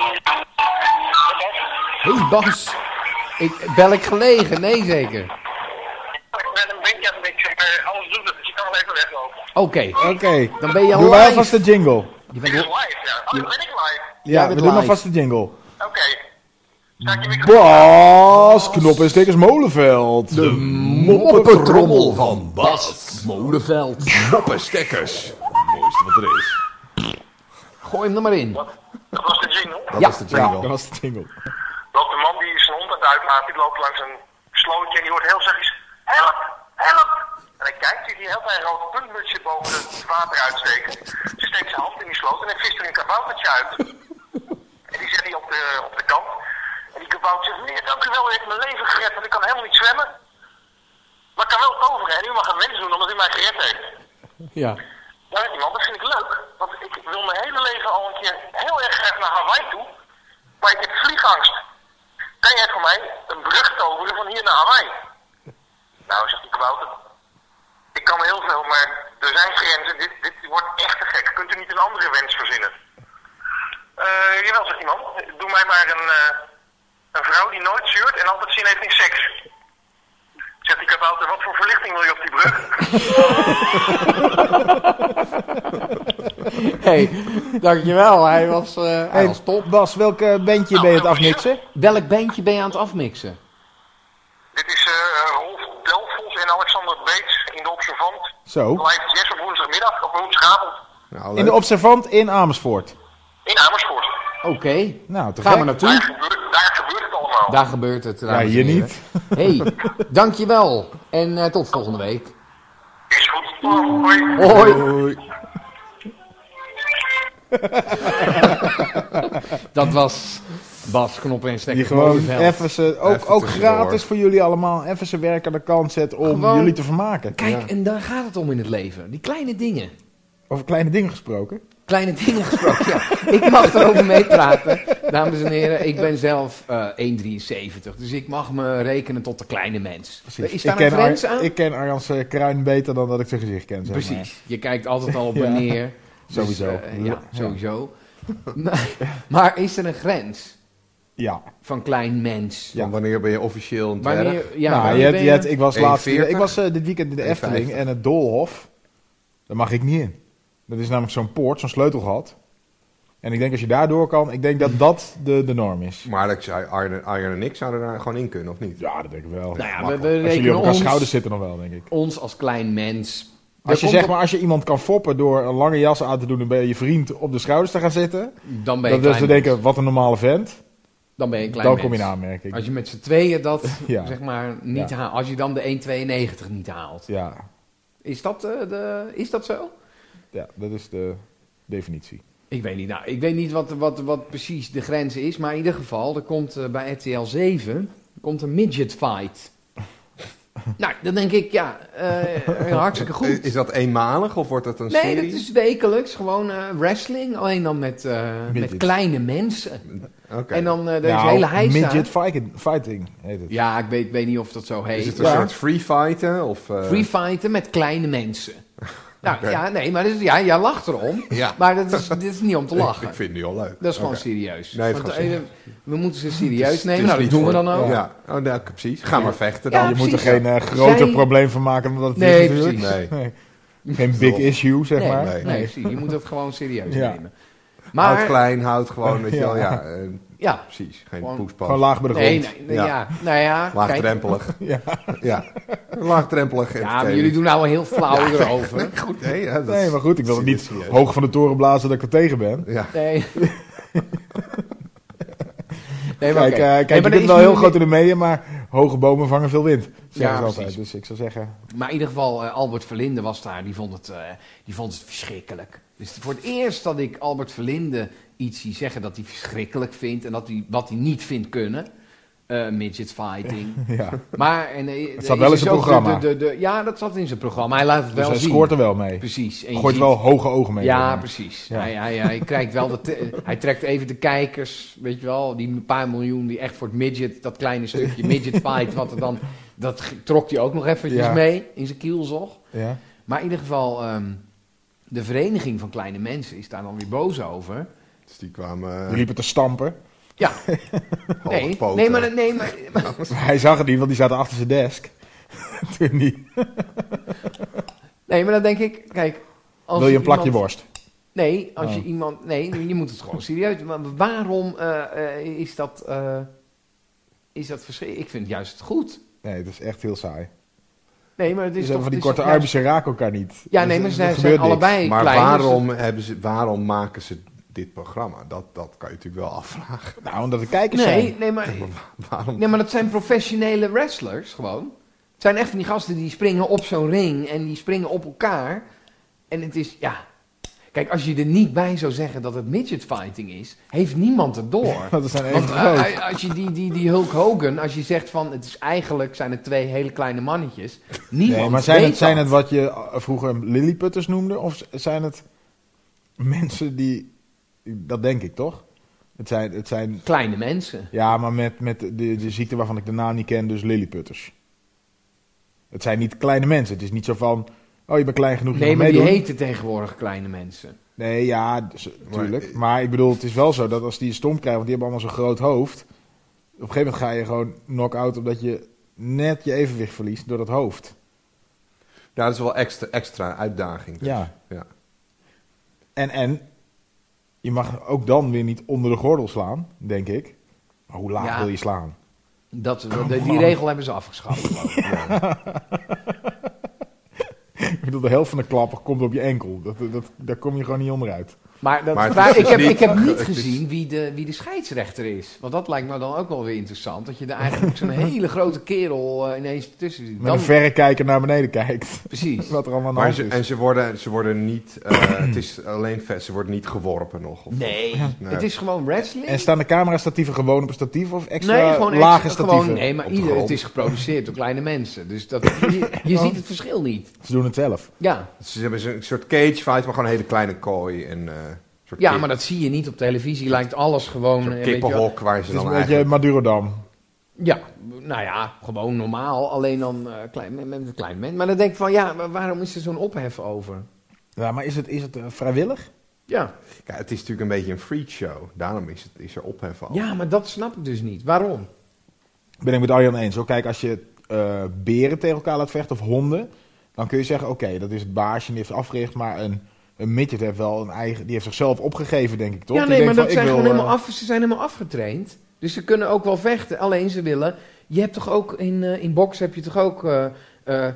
D: Hé hey Bas, ik, bel ik gelegen? Nee zeker.
F: Ik ben een beetje aan het mixen, maar alles doet het, dus je kan wel even weglopen.
D: Oké,
C: Oké,
D: dan ben je
C: doen wij
D: live.
C: alvast de jingle.
D: Je
F: Ik
D: bent
F: ben
D: li-
F: live, ja. Oh, dan ben ik live.
C: Ja,
D: bent
C: we
D: live.
C: doen alvast de jingle.
F: Oké. Sta ik je weer
C: Bas, knop en stickers Molenveld.
G: Moppetrommel van Bas Molenveld. Moppestekkers. Het mooiste wat er is.
D: Gooi hem er maar in.
F: Dat was de jingle.
B: Dat
D: Ja.
B: was de
C: Ja,
B: jingle.
C: dat was de jingle.
F: Loopt een man die zijn hond aan het uitlaten, die loopt langs een slootje en die hoort heel zachtjes, help, help. En hij kijkt, ziet hij heel klein rood puntmutsje boven het water uitsteken. Ze steekt zijn hand in die sloot en hij vist er een kaboutertje uit. En die zet hij op de, op de kant. En die kabouter zegt, meneer, dank u wel, u heeft mijn leven gered, want ik kan helemaal niet zwemmen. Maar ik kan wel toveren en u mag een wens doen omdat u mij gered heeft.
D: Ja.
F: Ja, weet je wel, dat vind ik leuk. Want ik wil mijn hele leven al een keer heel erg graag naar Hawaii toe. Maar ik heb vliegangst. Kan jij voor mij een brug toveren van hier naar Hawaii? Nou, zegt die kabouter. Ik kan heel veel, maar er zijn grenzen. Dit, dit wordt echt te gek. Kunt u niet een andere wens verzinnen? Eh, jawel, zegt die man. Doe mij maar een, eh, een vrouw die nooit zeurt en altijd zin heeft in seks. Zegt die kabouter, wat voor verlichting wil je op die brug?
D: Hé, hey, dankjewel. Hij was, eh hij
C: Hey,
D: was top.
C: Bas, welk eh, bandje ben je het afmixen?
D: Welk bandje ben je aan het afmixen?
F: Dit is eh Rolf Delfos en Alexander Beets in de Observant.
C: Zo.
F: Live jazz op woensdagmiddag, op woensdagavond
B: Nou,
C: In de
B: leuk.
C: Observant in Amersfoort.
F: in Amersfoort.
D: Oké,
C: Nou, te gek.
D: gaan we
F: Daar
D: naartoe.
F: gebeurt, daar gebeurt het allemaal.
D: Daar gebeurt het. dames en
C: hier
D: heren.
C: niet.
D: hey, dankjewel. En eh, tot volgende week.
F: Is goed. Hoi.
D: Hoi.
B: Hoi.
D: Dat was Bas Knoppen en
C: Die
D: Stekker
C: gewoon
D: Molenveld.
C: even ze, ook,
B: Even
C: ook
B: tussendoor.
C: gratis voor jullie allemaal, even zijn werk aan de kant zetten om
D: Gewoon-
C: jullie te vermaken.
D: Kijk,
C: Ja.
D: en daar gaat het om in het leven. Die kleine dingen.
C: Over kleine dingen gesproken.
D: Kleine dingen gesproken, ja. Ik mag erover meepraten. Dames en heren, ik ben zelf eh, 1,73. Dus ik mag me rekenen tot de kleine mens. Is daar een
C: ken Ar-
D: grens aan?
C: ik ken Arjan's eh, kruin beter dan dat ik zijn gezicht ken. Zeg maar.
D: Precies. Je kijkt altijd al op
C: Ja.
D: wanneer. Dus,
C: Sowieso.
D: eh,
C: Ja.
D: ja, sowieso. maar, maar is er een grens
C: Ja.
D: van klein mens?
C: Ja.
B: Van wanneer ben je officieel een dwerg?
D: Wanneer, ja,
C: nou,
D: wanneer
C: je hebt,
D: ben
C: je hebt, ik was, laatst,
B: 41?
C: ik was eh, dit weekend in de Efteling
B: 51.
C: en het Doolhof. Daar mag ik niet in. Dat is namelijk zo'n poort, zo'n sleutelgat. En ik denk als je daardoor kan, ik denk dat dat de, de norm is.
B: Maar ik zei, Arjen, Arjen en ik zouden daar gewoon in kunnen, of niet?
C: Ja, dat denk ik wel.
D: Nou ja, we,
B: makkelijk.
D: we
C: als jullie op
D: rekenen
C: elkaar
D: ons,
C: schouders zitten dan wel, denk ik.
D: ons als klein mens.
C: Als je,
D: Daar komt
C: zeg maar, als je iemand kan foppen door een lange jas aan te doen en bij je vriend op de schouders te gaan zitten.
D: op- dan
C: Dat
D: ben je een
C: dus
D: klein
C: te
D: mens.
C: denken, wat een normale vent.
D: Dan ben je een klein
C: Dan
D: mens.
C: kom je in aanmerking.
D: Als je met z'n tweeën dat,
C: Ja.
D: zeg maar, niet
C: Ja.
D: haalt. Als je dan de 1,92 niet haalt.
C: Ja,
D: Is dat, eh, de, is dat zo?
C: ja, dat is de definitie.
D: Ik weet niet, nou, ik weet niet wat, wat, wat precies de grens is. Maar in ieder geval, er komt eh, bij RTL 7 komt een midget fight. nou, dan denk ik, ja, eh, hartstikke
B: Is,
D: goed.
B: is dat eenmalig of wordt dat een
D: Nee,
B: serie?
D: dat is wekelijks gewoon eh, wrestling. Alleen dan met, eh, met
C: Midgets.
D: kleine mensen.
B: Oké.
D: En dan eh, deze
C: Nou,
D: hele heisa.
C: midget fighting, fighting heet het.
D: Ja, ik weet, ik weet niet of dat zo heet.
B: Is het een
C: Ja.
B: soort free fighten? Of, eh,
D: Free fighten met kleine mensen. Nou, ja, nee, maar dat is- ja, jij lacht erom.
B: Ja.
D: Maar dat is, dit is niet om te lachen.
B: Ik vind het nu al leuk.
D: Dat is gewoon
B: Oké.
D: serieus.
B: Nee, het
D: Want,
B: gaat serieus.
D: eh, we moeten ze serieus
B: Het is-
D: nemen.
B: het
D: Nou,
B: is
D: dat
B: niet
D: doen we
B: voor-
D: dan ook.
B: Ja, oh, nou, precies. Ga maar vechten
D: Ja,
B: dan.
C: je moet er
D: precies.
C: geen eh, groter
D: Zij-
C: probleem van maken dan dat het
D: Nee,
C: is natuurlijk.
B: precies.
C: Geen big issue, zeg
D: Nee,
C: maar.
D: nee, nee, zie, je moet dat gewoon serieus
C: Ja.
D: nemen.
B: Houd
D: Maar,
B: klein, houd gewoon, weet je wel. Ja, eh,
D: ja.
B: precies.
D: Gewoon-
B: Geen
C: Gewoon
B: poespas.
C: laag bij de grond.
D: Nee, nee, nee, ja.
B: Ja.
D: Nou ja, kijk.
B: Laagdrempelig.
C: Ja.
B: Ja, laagdrempelig.
D: Ja, maar jullie doen nou wel heel flauw erover.
B: Goed, nee, ja, dat
C: Nee,
B: is-
C: maar goed, ik wil het
B: dit
C: niet
B: serieus.
C: hoog van de toren blazen dat ik er tegen ben.
B: Ja.
D: Nee. nee maar
C: Kijk, eh,
D: oké.
C: kijk
D: Nee,
C: je
D: maar
C: bent
D: er
C: wel
D: is
C: heel
D: nu-
C: groot in de media, maar hoge bomen vangen veel wind.
D: Ja,
C: Zeggen ze altijd.
D: precies.
C: Dus ik zou zeggen,
D: Maar in ieder geval, eh, Albert Verlinde was daar. Die vond, het, eh, die vond het verschrikkelijk. Dus voor het eerst dat ik Albert Verlinde iets zie zeggen dat hij verschrikkelijk vindt. En dat hij, wat hij niet vindt kunnen. Eh, midget fighting.
C: ja. Dus
D: Maar, en, eh,
C: Het staat
D: is
C: wel in
D: dus
C: zijn
D: ook de-
C: programma.
D: de- de- de- ja, dat zat in zijn programma. Hij laat het
C: Dus
D: wel
C: hij
D: zien.
C: scoort er wel mee.
D: Precies. En je
C: Gooit
D: ziet-
C: wel hoge ogen mee. zeg
D: Ja,
C: maar.
D: precies.
C: Ja.
D: Hij, hij, hij krijgt wel de te- hij trekt even de kijkers, weet je wel, die paar miljoen die echt voor het midget, dat kleine stukje midget fight, wat er dan, dat g- trok hij ook nog eventjes
C: Ja.
D: mee in zijn kielzog.
C: Ja.
D: Maar in ieder geval, ehm, de vereniging van kleine mensen is daar dan weer boos over.
B: Dus die kwamen
C: Die
B: eh,
C: liepen te stampen.
D: Ja,
B: hoge
D: nee,
B: poten.
D: nee, maar, nee, maar,
C: Maar hij zag het niet, want die zaten achter zijn desk. Toen die,
D: nee, maar dan denk ik, kijk. Als
C: wil je een plakje
D: iemand-
C: worst?
D: Nee, als je
C: Oh.
D: iemand. Nee, je moet het gewoon serieus. doen. Maar waarom eh, eh, is dat. eh, is dat verschrikkelijk? Ik vind het juist goed.
C: Nee, het is echt heel saai.
D: Nee, maar het is
C: Dus
D: toch.
C: van die
D: het is
C: korte
D: toch
C: armpjes, ze raken elkaar niet.
D: juist- Ja,
C: Dus
D: nee, maar
C: er-
D: ze
C: er
D: zijn,
C: gebeurt
D: zijn
C: niks.
D: allebei
B: Maar
D: klein. dus
B: waarom, hebben ze, waarom maken ze dit programma? Dat, dat kan je natuurlijk wel afvragen.
C: Nou, omdat de kijkers
D: dat-
C: zijn.
D: nee, nee, maar,
B: Waarom?
D: nee, maar dat zijn professionele wrestlers gewoon. Het zijn echt van die gasten die springen op zo'n ring en die springen op elkaar. En het is, ja. Kijk, als je er niet bij zou zeggen dat het midget fighting is, heeft niemand het door.
C: Want er zijn even
D: Want
C: groot.
D: eh, als je die, die, die Hulk Hogan, als je zegt van het is eigenlijk zijn het twee hele kleine mannetjes. Niemand
C: Nee, maar zijn
D: weet
C: het, zijn
D: dat.
C: het wat je eh, vroeger lilliputters noemde? Of z- zijn het mensen die... Dat denk ik toch? Het zijn... Het zijn
D: kleine mensen?
C: ja, maar met, met de, de ziekte waarvan ik de naam niet ken, dus lilliputters. Het zijn niet kleine mensen. Het is niet zo van... Oh, je bent klein genoeg, je
D: Nee,
C: mag
D: maar die
C: meedoen.
D: heten tegenwoordig kleine mensen.
C: Nee, ja, dus, tuurlijk. Maar, ik bedoel, het is wel zo dat als die een stom krijgen... want die hebben allemaal zo'n groot hoofd... op een gegeven moment ga je gewoon knock-out... omdat je net je evenwicht verliest door dat hoofd.
B: Nou, dat is wel extra, extra uitdaging. dus.
C: Ja.
B: ja.
C: En, en je mag ook dan weer niet onder de gordel slaan, denk ik. Maar hoe laag
D: Ja.
C: wil je slaan?
D: Dat,
C: Oh,
D: dat- die regel hebben ze afgeschaft. geloof ik.
C: Ik bedoel, de helft van de klapper komt op je enkel. Dat, dat, daar kom je gewoon niet onderuit.
D: Maar, dat,
B: Maar het
D: maar
B: is dus
D: ik, heb,
B: niet-
D: ik heb niet
B: het is-
D: gezien wie de, wie de scheidsrechter is. Want dat lijkt me dan ook wel weer interessant. Dat je er eigenlijk zo'n hele grote kerel eh, ineens tussen ziet.
C: Met
D: Dan-
C: een verrekijker naar beneden kijkt.
D: Precies.
C: Wat er allemaal aan de
B: Maar
C: hand
B: ze,
D: dus-
C: is.
B: en ze worden, ze worden niet, eh, het is alleen vet, ze worden niet geworpen nog. Of,
D: Nee, het is gewoon wrestling.
C: En staan de camera-statieven gewoon op een statief of extra
D: nee, gewoon
C: lage
D: extra-
C: statieven?
D: Gewoon, nee, maar
B: op de
D: ieder,
B: grond.
D: het is geproduceerd door kleine mensen. Dus dat, je, je ziet het verschil niet.
C: Ze doen het zelf.
D: Ja.
B: Ze hebben zo'n soort cage fight, maar gewoon een hele kleine kooi. En, eh, een soort
D: ja,
B: kip-
D: maar dat zie je niet op televisie. Lijkt alles gewoon...
B: een
D: eh,
B: soort
D: weet je wel.
B: kippenhok waar ze
C: Het is
B: dan
C: een
B: eigenlijk...
C: beetje Madurodam.
D: Ja, nou ja, gewoon normaal. Alleen dan eh, klein, met, met een klein mens. Maar dan denk ik van, ja, maar waarom is er zo'n ophef over?
C: Ja, maar is het, is het eh, vrijwillig?
D: Ja.
B: Ja, het is natuurlijk een beetje een freak show. Daarom is, het, is er ophef over.
C: Oh.
D: ja, maar dat snap ik dus niet. Waarom?
C: ben ik met Arjan eens. Hoor. Kijk, als je eh, beren tegen elkaar laat vechten of honden, dan kun je zeggen: oké, dat is het baasje en die heeft het afgericht, maar een, een midget heeft wel een eigen, die heeft zichzelf opgegeven, denk ik toch?
D: ja,
C: Die
D: nee, maar
C: denkt van,
D: dat zijn
C: ik
D: gewoon
C: wil,
D: helemaal
C: eh,
D: af, ze zijn helemaal afgetraind. Dus ze kunnen ook wel vechten. Alleen ze willen... Je hebt toch ook in, eh, in boksen heb je toch ook eh, eh,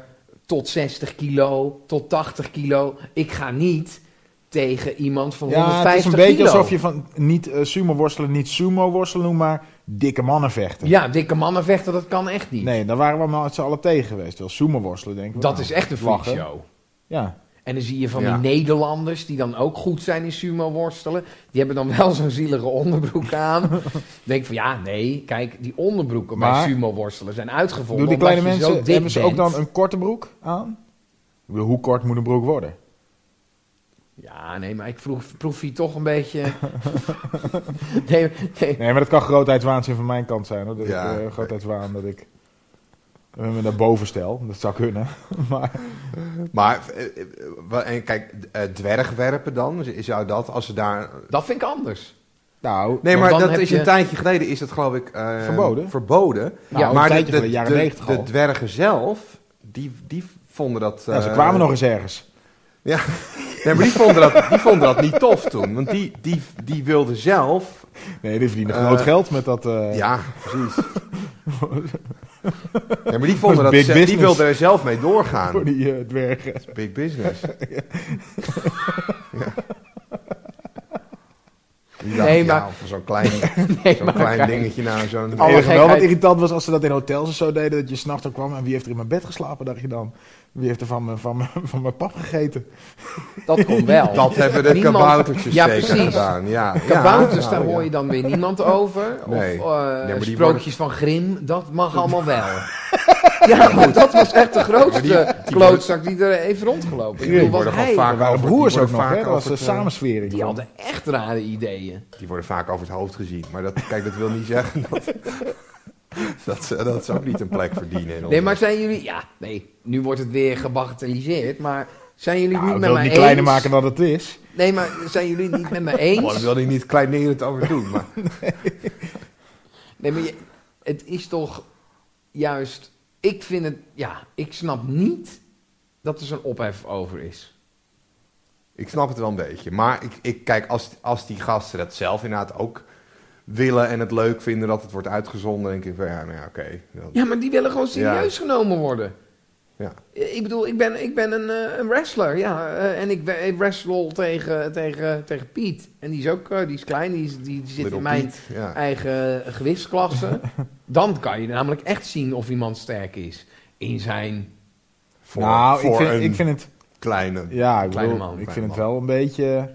D: tot 60 kilo, tot 80 kilo. Ik ga niet tegen iemand van
C: Ja, het is
D: 150
C: een
D: kilo.
C: beetje alsof je van niet eh, sumo worstelen, niet sumo worstelen noemt, maar dikke mannen vechten.
D: Ja, dikke mannen vechten, dat kan echt niet.
C: Nee, daar waren we maar met z'n allen tegen geweest. Wel sumo worstelen, denk ik.
D: Dat
C: Nou,
D: is echt een
C: lachen.
D: freakshow.
C: Ja.
D: En dan zie je van
B: Ja.
D: die Nederlanders die dan ook goed zijn in sumo worstelen. Die hebben dan wel zo'n zielige onderbroek aan. Dan denk ik van ja, nee, kijk, die onderbroeken bij
C: Maar-
D: sumo worstelen zijn uitgevonden.
C: Doen die kleine
D: omdat je zo
C: mensen,
D: dik
C: hebben ze ook
D: bent.
C: dan een korte broek aan? Ik bedoel, Hoe kort moet een broek worden?
D: Ja, nee, maar ik vroeg, proef hier toch een beetje... nee, nee.
C: Nee, maar dat kan grootheidswaanzin van mijn kant zijn. Hoor. Dat
B: Ja.
C: ik, eh, grootheidswaan dat ik Met een daarbovenstel, dat zou kunnen. Maar
B: Maar, eh, eh, wa- en kijk, d- eh, dwergwerpen dan, z- zou dat, als ze daar...
D: Dat vind ik anders.
C: nou,
B: Nee,
D: Want
B: maar
D: dan
B: dat
D: heb
B: is
D: je-
B: een tijdje geleden, is dat geloof ik... eh,
C: Verboden?
B: Verboden.
C: Nou, een
B: maar
C: tijdje geleden, jaren 90
B: de,
C: al.
B: dwergen zelf, die, die vonden dat...
C: ja, ze
B: eh,
C: kwamen nog eens ergens.
B: Ja, nee, maar die vonden, dat, die vonden dat niet tof toen. Want die, die, die wilden zelf...
C: Nee, die verdienen
B: Eh,
C: groot geld met dat... eh,
B: Ja, precies. Ja, maar die vonden dat,
C: Dat is big
B: ze- die
C: business.
B: wilden er zelf mee doorgaan.
C: Voor die eh, dwergen.
B: Big business. Ja. Die dacht,
D: Nee,
B: ja,
D: maar-
B: voor zo'n klein, zo'n
D: maar
B: klein
D: kijk.
B: dingetje nou, zo'n...
D: Alle
C: Het enige wel wat
D: gekheid.
C: irritant was als ze dat in hotels en zo deden, dat je s'nachts er kwam en wie heeft er in mijn bed geslapen, dacht je dan. Wie heeft er van mijn, van mijn, van mijn pap gegeten?
D: Dat kon wel.
B: Dat hebben de
D: Niemand-
B: kaboutertjes
D: Ja,
B: zeker
D: precies.
B: gedaan. Ja, ja.
D: Kabouters,
B: Nou,
D: daar
B: ja.
D: hoor je dan weer niemand over.
B: Nee.
D: Of eh,
B: Nee, maar die
D: sprookjes van Grim, dat mag allemaal wel. ja, maar dat was echt de grootste
B: Ja, maar die- die
D: klootzak die er heeft rondgelopen. Ik
B: Die
D: bedoel,
B: worden
D: wat
B: gewoon
D: hij...
B: vaak
C: Er waren
B: over- die
C: broers ook
B: worden
C: nog,
B: vaak
C: hè? Dat was
B: over
C: een
B: het, eh,
C: samenswering.
D: Die hadden echt rare ideeën.
B: Die worden vaak over het hoofd gezien. Maar dat, kijk, dat wil niet zeggen dat... dat, ze, dat ze ook niet een plek verdienen. in
D: Nee,
B: onze-
D: maar zijn jullie... Ja, nee, nu wordt het weer gebagatelliseerd, maar... Zijn jullie
C: Nou,
D: niet
C: ik
D: met
C: wil het
D: mij
C: niet
D: eens?
C: kleiner maken dan het is.
D: Nee, maar zijn jullie het niet met me
B: Oh, daar
D: eens?
B: wilde ik niet kleinerend over doen. Maar
D: Nee, maar je- het is toch juist... Ik vind het... Ja, ik snap niet dat er zo'n ophef over is.
B: ik snap het wel een beetje. Maar ik, ik kijk, als, als die gasten dat zelf inderdaad ook willen en het leuk vinden dat het wordt uitgezonden, denk ik van ja, nou ja, oké. Dat-
D: Ja, maar die willen gewoon serieus genomen worden.
B: Ja.
D: Eh, Ik bedoel, ik ben, ik ben een, eh, een wrestler, ja. eh, en ik, we- ik wrestle tegen, tegen, tegen Piet. En die is ook eh, die is klein, die, is, die, die zit
B: Little
D: in mijn
B: Piet, ja.
D: eigen gewichtsklasse. Dan kan je namelijk echt zien of iemand sterk is. In zijn...
B: Voor,
C: nou,
B: voor
C: ik vind,
B: een
C: ik vind het.
B: kleine.
C: Ja, ik,
D: Kleine
C: bedoel,
D: man,
C: ik
B: kleine
C: vind het
B: man.
C: wel een beetje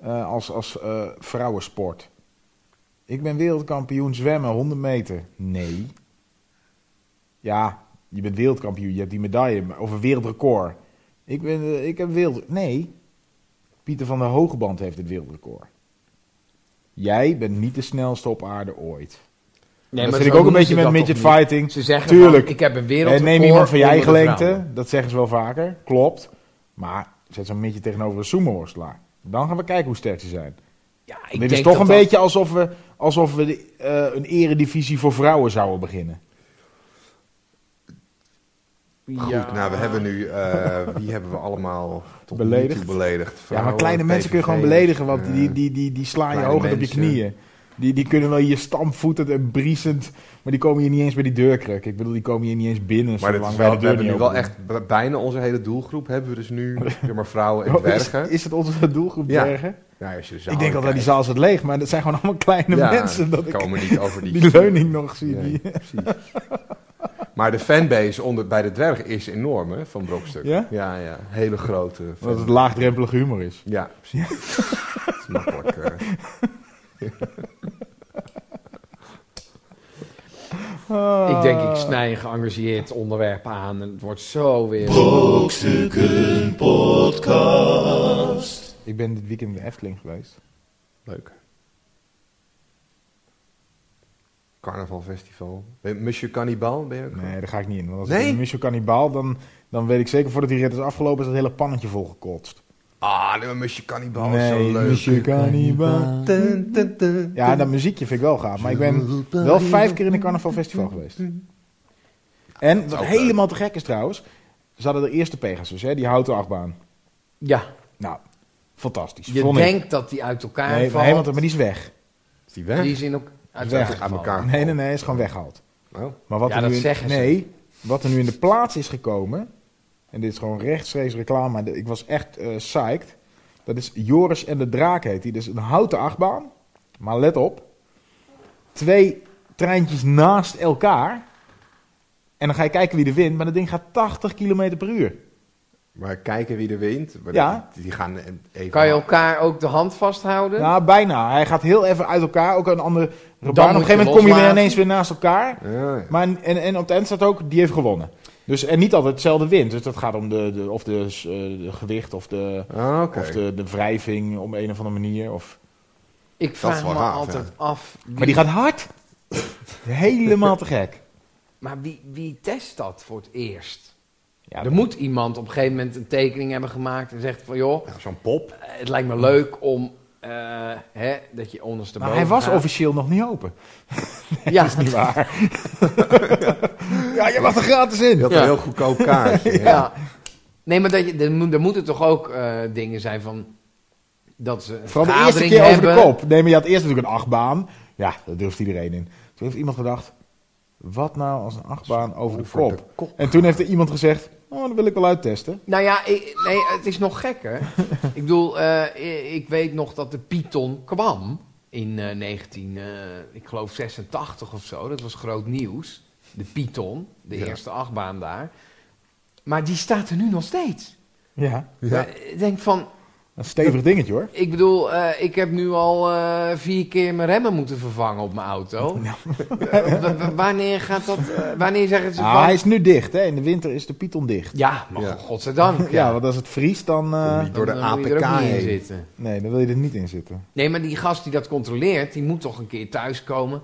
C: eh, als, als eh, vrouwensport. Ik ben wereldkampioen zwemmen, 100 meter. Nee. Ja, je bent wereldkampioen, je hebt die medaille, maar- of een wereldrecord. Ik, ben, eh, ik heb wereld... Nee. Pieter van der Hogeband heeft het wereldrecord. Jij bent niet de snelste op aarde ooit.
D: Nee,
C: dat vind ik ook een beetje met midget fighting.
D: Ze zeggen
C: Tuurlijk.
D: van, ik heb een wereld.
C: Eh, neem iemand van je eigen lengte, dat zeggen ze wel vaker, klopt. Maar zet zo'n beetje tegenover een sumo-worstelaar. Dan gaan we kijken hoe sterk ze zijn.
D: Ja, ik
C: Dit is
D: denk
C: toch
D: dat
C: een
D: dat-
C: beetje alsof we, alsof we de, eh, een eredivisie voor vrouwen zouden beginnen.
B: Goed,
D: Ja.
B: nou, we hebben nu, eh, wie hebben we allemaal tot nu
C: Beledigd?
B: toe beledigd?
C: ja,
B: Vrouwen,
C: maar kleine mensen kun je gewoon
B: PVV'ers,
C: beledigen, want
B: eh,
C: die, die, die, die slaan je
B: kleine
C: hoger op je
B: mensen.
C: knieën. Die, die kunnen wel je stampvoetend en briesend, maar die komen hier niet eens bij die deurkruk. Ik bedoel, die komen hier niet eens binnen.
B: Maar dit
C: zolang
B: is
C: wij
B: wel,
C: de
B: we
C: deur
B: hebben
C: niet
B: nu wel
C: open doen.
B: echt b- bijna onze hele doelgroep. Hebben we dus nu zeg maar, vrouwen en
C: Oh, is,
B: dwergen.
C: is het onze doelgroep
B: Ja.
C: dwergen?
B: Ja, als je de zaal
C: Ik denk altijd, die
B: kijkt.
C: zaal zit leeg, maar dat zijn gewoon allemaal kleine
B: Ja,
C: mensen. Dat ik,
B: komen niet over die,
C: die leuning nog zie.
B: Nee,
C: Die,
B: precies. Maar de fanbase onder, bij de dwerg is enorm, hè, van Brokstuk.
C: Ja?
B: Ja, ja. Hele grote. fan-
C: dat het laagdrempelig humor is.
B: Ja, precies. Dat is makkelijk. eh.
C: nou.
D: Ik denk, ik snij een geëngageerd onderwerp aan. En het wordt zo weer...
A: Brokstukken Podcast.
C: Ik ben dit weekend in de Efteling geweest.
B: Leuk. Carnavalfestival. Ben- Monsieur Cannibal, ben je ook?
C: Nee, daar ga ik niet in. Want als
B: Nee?
C: ik in Mission Cannibal, dan, dan weet ik zeker voordat die rit is afgelopen, is dat hele pannetje volgekotst.
B: Ah, nee, maar Monsieur Cannibal is
C: nee,
B: zo leuk.
C: Monsieur Cannibal.
B: Dun, dun, dun.
C: Ja, dat muziekje vind ik wel gaaf. Maar ik ben wel vijf keer in een carnavalfestival geweest. En wat
B: ook
C: helemaal te gek is trouwens, ze hadden de eerste Pegasus, hè, die houten achtbaan.
D: Ja,
C: Nou, fantastisch.
D: je
C: vond ik.
D: denkt dat die uit elkaar
C: Nee, maar,
D: valt.
C: helemaal, te- maar die is weg.
B: Is die weg?
D: Die is in elk- uit
C: Weg,
D: elkaar
B: aan
D: gevallen.
B: elkaar.
C: Nee, nee, nee, is gewoon weggehaald.
B: Oh.
C: Maar wat
D: Ja,
C: er
D: dat
C: nu in,
D: zeggen ze.
C: nee, wat er nu in de plaats is gekomen, en dit is gewoon rechtstreeks reclame, maar de- ik was echt eh psyched. Dat is Joris en de Draak heet die. Dus een houten achtbaan, maar let op, twee treintjes naast elkaar. En dan ga je kijken wie er wint, maar dat ding gaat 80 km per uur.
B: Maar kijken wie er wint. Maar
C: Ja.
B: Die, die gaan e- even...
D: Kan je elkaar ook de hand vasthouden?
C: Nou, bijna. Hij gaat heel even uit elkaar, ook een andere
D: moet
C: baan. Op een
D: je
C: gegeven moment kom je weer
D: loslaten.
C: ineens weer naast elkaar.
B: Ja, ja.
C: Maar en, en, en op het eind staat ook, die heeft gewonnen. Dus, en niet altijd hetzelfde wint. Dus dat gaat om de, de, of de, s- eh, de gewicht of, de,
B: Ah, oké.
C: of de, de wrijving om een of andere manier. Of...
D: Ik
B: is
D: vraag
B: wel
D: me
B: gaaf,
D: altijd
B: ja.
D: af. wie-
C: Maar die gaat hard. Helemaal te gek.
D: Maar wie, wie test dat voor het eerst?
C: Ja,
D: er moet iemand op een gegeven moment een tekening hebben gemaakt en zegt van joh,
B: Ja, Zo'n pop.
D: eh, het lijkt me leuk om eh, hè, dat je ondersteboven.
C: Maar hij was
D: gaat.
C: officieel nog niet open.
D: Ja,
C: Niet waar. ja, je mag er gratis in.
B: Je had
D: Ja.
B: een heel goedkoop kaartje.
D: ja. Nee, maar dat je, er, moet- er moeten toch ook eh, dingen zijn van dat ze. een
C: Vooral de eerste
D: vergadering
C: keer over de
D: hebben.
C: kop. Nee, maar je had eerst natuurlijk een achtbaan. Ja, daar durft iedereen in. Toen heeft iemand gedacht, wat nou als een achtbaan over de
B: Over
C: kop?
B: de kop.
C: En toen heeft er iemand gezegd, oh, dat wil ik wel uittesten.
D: Nou ja, ik- nee, het is nog gekker. ik bedoel, eh, i- ik weet nog dat de Python kwam in eh 19, eh, ik geloof 86 of zo. Dat was groot nieuws. De Python, de
B: Ja.
D: eerste achtbaan daar. Maar die staat er nu nog steeds.
C: Ja.
B: Ja.
D: Eh, Ik denk van,
C: Een stevig dingetje hoor.
D: ik bedoel, eh, ik heb nu al eh, vier keer mijn remmen moeten vervangen op mijn auto. Eh, w- w- wanneer gaat dat, eh, wanneer zeggen ze
C: Ah,
D: van...
C: hij is nu dicht, hè. In de winter is de Python dicht.
D: Ja, maar
B: Ja.
D: godzijdank.
C: Ja, want als het vriest, dan... eh,
B: Dan niet. Door de
D: Dan, eh, moet je er
B: APK
D: ook niet in
B: heen.
D: zitten.
C: nee, dan wil je er niet in zitten.
D: Nee, maar die gast die dat controleert, die moet toch een keer thuiskomen.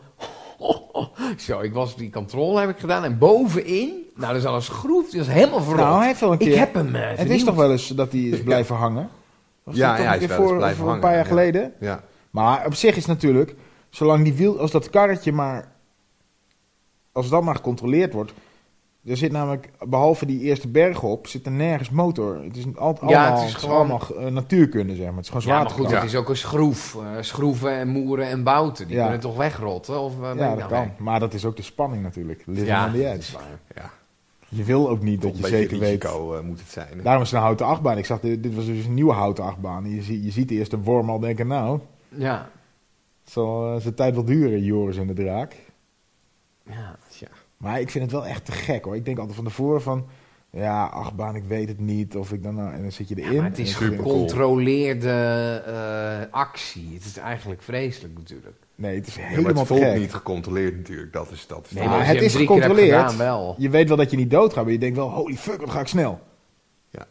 D: Zo, ik was die controle heb ik gedaan en bovenin, nou, dat is alles schroef, dat is helemaal verrot.
C: Nou, hij heeft wel een
D: ik
C: keer...
D: heb hem. eh,
C: Het is
D: vernieuwd.
C: toch wel eens dat hij is blijven hangen? Was
B: Ja, ja,
C: dat toch
B: hij
C: een
B: is
C: keer
B: wel eens
C: voor,
B: blijven
C: voor
B: hangen,
C: een paar jaar
B: ja.
C: geleden?
B: Ja.
C: Maar op zich is natuurlijk, zolang die wiel, als dat karretje maar, als dat maar gecontroleerd wordt, er zit namelijk, behalve die eerste berg op, zit er nergens motor. Het is altijd allemaal,
D: het is
C: het is
D: gewoon-
C: allemaal eh, natuurkunde, zeg maar. Het is gewoon
D: Ja, maar
C: zwaar.
D: goed,
B: Ja.
D: het is ook een schroef. eh, schroeven en moeren en bouten, die
C: Ja.
D: kunnen toch wegrotten? Of, eh, ben ik
C: ja,
D: nou
C: dat
D: mee?
C: kan. Maar dat is ook de spanning natuurlijk. Living
D: Ja,
C: on the
D: dat is
C: edge.
D: waar.
B: Ja.
C: Je wil ook niet dat
B: Een
C: je
B: beetje
C: zeker weet. Nou,
B: risico eh, moet het zijn. hè.
C: Daarom is het een houten achtbaan. Ik zag, dit, dit was dus een nieuwe houten achtbaan. Je, zie- je ziet eerst de worm al denken, nou,
D: Ja.
C: het zal eh, zijn tijd wel duren, Joris en de draak.
D: ja.
B: Tja.
C: Maar ik vind het wel echt te gek hoor. Ik denk altijd van tevoren van, ja, achtbaan, ik weet het niet. Of ik dan nou, en dan zit je erin.
D: Maar het is
C: En dan zit je-
B: supercool.
D: gecontroleerde eh, actie. Het is eigenlijk vreselijk natuurlijk.
C: Nee, het is
B: Ja, maar
C: helemaal
B: het
C: te gek.
B: voelt niet gecontroleerd natuurlijk. Dat is dat. Is
D: Nee,
C: Ah,
D: maar als
C: het
D: je hem
C: is
D: drie keer hebt
C: gecontroleerd.
D: gedaan, wel.
C: Je weet wel dat je niet doodgaat, maar je denkt wel, holy fuck, wat ga ik snel.
B: Ja.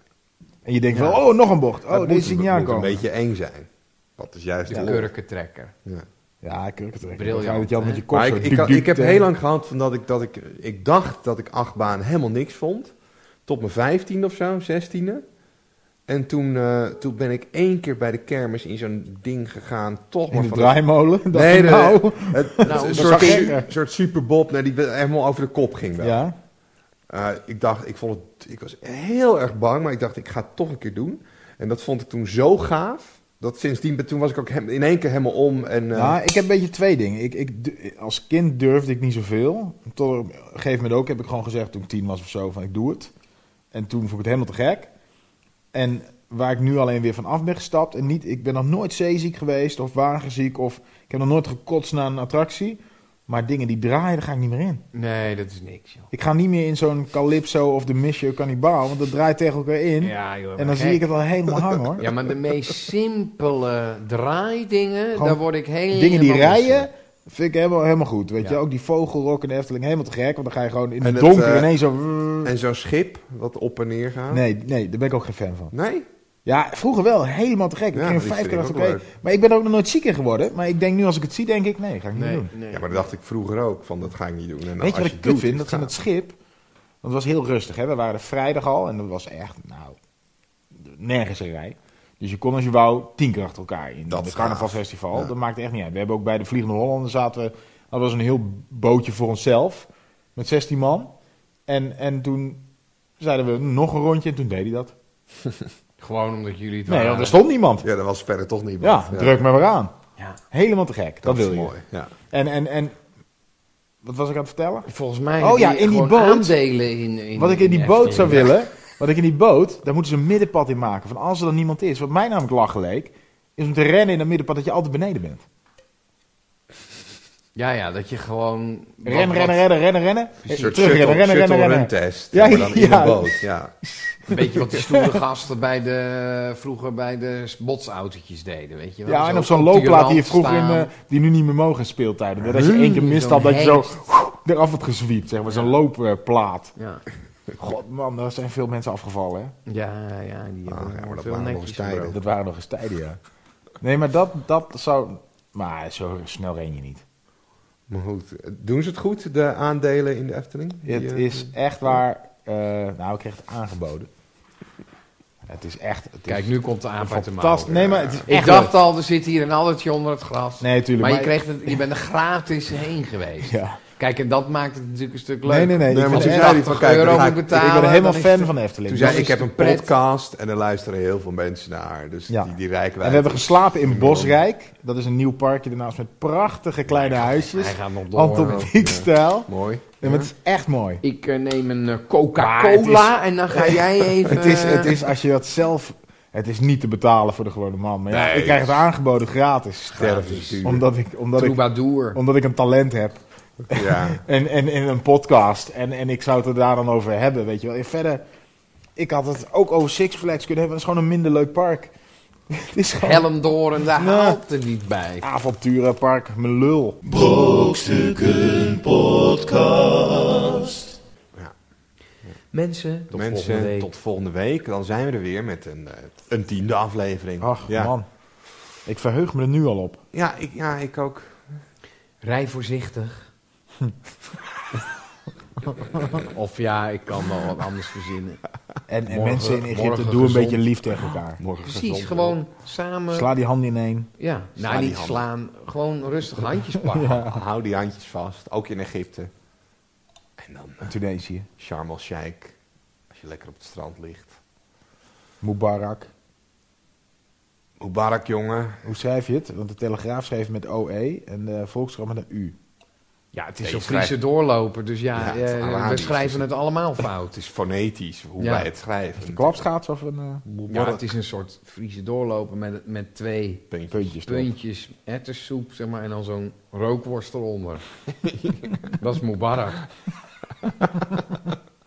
C: En je denkt
D: Ja.
C: wel, oh, nog een bocht.
B: Het
C: Oh,
B: moet
C: deze zie
B: een-
C: ik niet
B: Het moet
C: aankomen.
B: een beetje eng zijn. Dat is juist
D: De
B: de lol.
D: kurkentrekker.
B: Ja.
C: Ja, ik het echt.
D: Briljant,
C: Briljant. Dat je altijd met je
D: hè?
C: kop
B: Maar
C: zo
B: ik,
C: duik,
B: ik,
C: duik,
B: ik heb
C: eh,
B: heel lang gehad van dat ik, dat ik, ik dacht dat ik achtbaan helemaal niks vond. Tot mijn vijftiende of zo, zestiende. En toen, eh, toen ben ik één keer bij de kermis in zo'n ding gegaan. Toch
C: In
B: maar
C: de
B: van
C: draaimolen.
B: dat-
C: Nee,
B: nee,
C: nou.
B: de- het, het-
D: Nou,
B: een
D: dat
B: soort,
C: is
B: su-
C: gek.
B: soort superbob nee, die helemaal over de kop ging. Wel.
C: Ja.
B: Eh, ik dacht, ik vond het, ik was heel erg bang, maar ik dacht, ik ga het toch een keer doen. En dat vond ik toen zo gaaf, dat sindsdien, toen was ik ook hem- in één keer helemaal om. En, eh,
C: Nou, ik heb een beetje twee dingen. Ik, ik, du- als kind durfde ik niet zoveel. Tot op een gegeven moment ook heb ik gewoon gezegd toen ik tien was of zo van ik doe het. En toen vond ik het helemaal te gek. En waar ik nu alleen weer van af ben gestapt. En niet, ik ben nog nooit zeeziek geweest of wagenziek. Of ik heb nog nooit gekotst na een attractie. Maar dingen die draaien, daar ga ik niet meer in.
D: Nee, dat is niks, joh.
C: Ik ga niet meer in zo'n Calypso of de Mission Cannibal. Want dat draait tegen elkaar in.
D: Ja, joh,
C: en
D: maar
C: dan zie
D: gek.
C: ik het al helemaal hangen hoor.
D: Ja, maar de meest simpele draaidingen,
C: Gewoon
D: daar word ik helemaal...
C: Dingen die
D: misselijk.
C: rijden, vind ik helemaal, helemaal goed. Weet
D: Ja.
C: je, ook die vogelrok in de Efteling, helemaal te gek. Want dan ga je gewoon in
B: En
C: het
B: het,
C: donker
B: eh,
C: ineens zo...
B: en zo'n schip, wat op en neer gaat.
C: Nee, nee, daar ben ik ook geen fan van.
B: Nee?
C: Ja, vroeger wel, helemaal te gek. Ik
B: Ja,
C: ging er
B: die
C: vijf
B: vind
C: keer
B: ik
C: achter
B: ook
C: elkaar. Maar ik ben er ook nog nooit zieker geworden. Maar ik denk nu als ik het zie, denk ik, nee, ga ik niet
D: Nee,
C: doen.
D: nee.
B: Ja, maar dat dacht ik vroeger ook, van dat ga ik niet doen. En nou,
C: Weet
B: als
C: je wat ik
B: het
C: kut
B: doet,
C: vind?
B: is
C: Dat van het
B: gaaf.
C: schip, want het was heel rustig. Hè? We waren er vrijdag al en dat was echt, nou, nergens een rij. Dus je kon als je wou tien keer achter elkaar in.
B: Dat
C: het
B: is
C: carnavalsfestival,
B: gaaf. Ja.
C: dat maakt echt niet uit. We hebben ook bij de Vliegende Hollander zaten we, dat was een heel bootje voor onszelf, met 16 man. En, en toen zeiden we nog een rondje en toen deed hij dat.
D: Gewoon omdat jullie het
C: Nee,
D: waren.
C: want er stond niemand.
B: Ja, dat was verder toch niet
C: Ja, druk maar weer aan.
D: Ja.
C: Helemaal te gek, dat,
B: Dat,
C: wil
B: is
C: je.
B: mooi. Ja.
C: En, en, en, wat was ik aan het vertellen?
D: Volgens mij
C: Oh
D: heb
C: ja,
D: je
C: in die
D: gewoon
C: boot.
D: aandelen in, in...
C: Wat ik in die
D: Efteling.
C: boot zou willen, wat ik in die boot, daar moeten ze een middenpad in maken. Van als er dan niemand is, wat mij namelijk lachen leek, is om te rennen in dat middenpad dat je altijd beneden bent.
D: Ja, ja, dat je gewoon...
C: Rennen,
D: wat-
C: rennen,
D: wat-
C: rennen, rennen, rennen.
B: Een
C: Eh,
B: soort shuttle, shuttle run test,
C: Ja,
B: maar dan in
C: ja.
B: een boot. Ja.
D: Een beetje wat die stoere gasten bij de, vroeger bij de botsautootjes deden, weet je wel.
C: Ja,
D: Zo
C: en op zo'n
D: tienrand
C: loopplaat die je vroeger in,
D: staan.
C: eh, die nu niet meer mogen in speeltijden. Dat als je één keer
D: Zo'n
C: mist had, dat je zo
D: hengst.
C: eraf wordt gezwiept, zeg maar, zo'n loopplaat.
D: Ja,
C: God man, daar zijn veel mensen afgevallen, hè.
D: ja, ja. Die
B: Ah,
D: hebben
B: ja, maar dat waren
D: veel
B: nog eens
D: netjes
B: tijden.
D: gebroken.
C: Dat waren nog eens tijden, ja. Nee, maar dat, dat zou... Maar zo snel ren je niet.
B: Maar goed, doen ze het goed, de aandelen in de Efteling?
C: Het
B: Die, eh,
C: is echt waar. eh, nou, ik kreeg het aangeboden. Het is echt. Het
D: Kijk, nu komt de aanpak te
C: fantastisch.
D: maken.
C: Nee, maar het is echt.
D: Ik dacht al, er zit hier een allertje onder het gras.
C: Nee, tuurlijk.
D: maar je, kreeg het, je bent er gratis heen geweest.
C: Ja.
D: Kijk, en dat maakt het natuurlijk een stuk
C: Nee,
D: leuker.
C: nee, nee.
B: Nee,
C: ik,
B: want
C: vind
B: toen
C: het
B: zei
C: echt-
B: hij van,
D: 80
B: kijk,
D: euro
B: dan ga
D: moet
B: ik- ik
D: betalen.
C: ik ben er helemaal
D: dan is
C: fan
D: het-
C: van Efteling.
B: Toen zei
D: dat
B: ik
D: is
B: heb
D: de
B: een
D: pret.
B: podcast en er luisteren heel veel mensen naar. Dus
C: Ja.
B: die, die rijken
C: En we hebben geslapen in Bosrijk. Dat is een nieuw parkje daarnaast met prachtige kleine
D: Hij
C: huisjes.
D: gaat nog door.
C: Hand op het stijl.
B: Mooi.
C: En het is echt mooi.
D: Ik eh, neem een eh,
C: Maar
D: Coca-Cola en dan ga jij even... eh,
C: Het is, het is als je dat zelf. Het is niet te betalen voor de gewone man. Maar ja,
B: Nee.
C: ik krijg het aangeboden gratis.
B: Sterven
C: Omdat ik, omdat, ik,
D: Troubadour.
C: omdat ik een talent heb.
B: Ja.
C: En, en in een podcast. En, en ik zou het er daar dan over hebben, weet je wel. En verder, ik had het ook over Six Flags kunnen hebben. Dat is gewoon een minder leuk park. het is gewoon
D: Hellendoren, daar
C: Nou.
D: haalt er niet bij.
C: een avonturenpark, mijn lul.
A: Brokstukken Podcast.
D: Mensen,
B: Tot Mensen,
D: mensen, volgende week.
B: tot volgende week. Dan zijn we er weer met een, eh, een tiende aflevering.
C: Ach,
B: ja.
C: man. Ik verheug me er nu al op.
B: Ja, ik, ja, ik ook.
D: Rij voorzichtig. of ja, ik kan wel wat anders verzinnen.
C: En, en
D: Morgen-
C: mensen in Egypte,
D: morgen
C: doe een
D: gezond.
C: beetje lief tegen elkaar.
B: Morgen
D: Precies,
B: gezond.
D: gewoon samen...
C: Sla die handen ineen.
D: ja,
B: sla
D: nou
B: die
D: niet
B: handen.
D: slaan, gewoon rustig handjes pakken.
B: Hou die handjes vast, ook in Egypte. En dan eh,
C: Tunesië,
B: Sharm el-Sheikh, als je lekker op het strand ligt.
C: Mubarak.
B: Mubarak, jongen.
C: Hoe schrijf je het? Want de Telegraaf schreef met OE en de Volkskrant met een U.
D: Ja, het
B: Ja,
D: is
B: je
D: een Friese
B: schrijft-
D: doorloper, dus ja,
B: Ja, het
D: eh,
B: is
D: we
B: Arabisch, dus
D: schrijven
B: het-
D: het allemaal fout.
B: Het is fonetisch, hoe
D: Ja.
B: wij het schrijven.
C: Klapschaats of een eh,
D: Ja,
B: Mubarak.
D: het is een soort Friese doorloper met, met twee
B: Puntje.
C: puntjes. erop.
D: puntjes erwtensoep, zeg maar, en dan zo'n rookworst eronder. dat is Mubarak.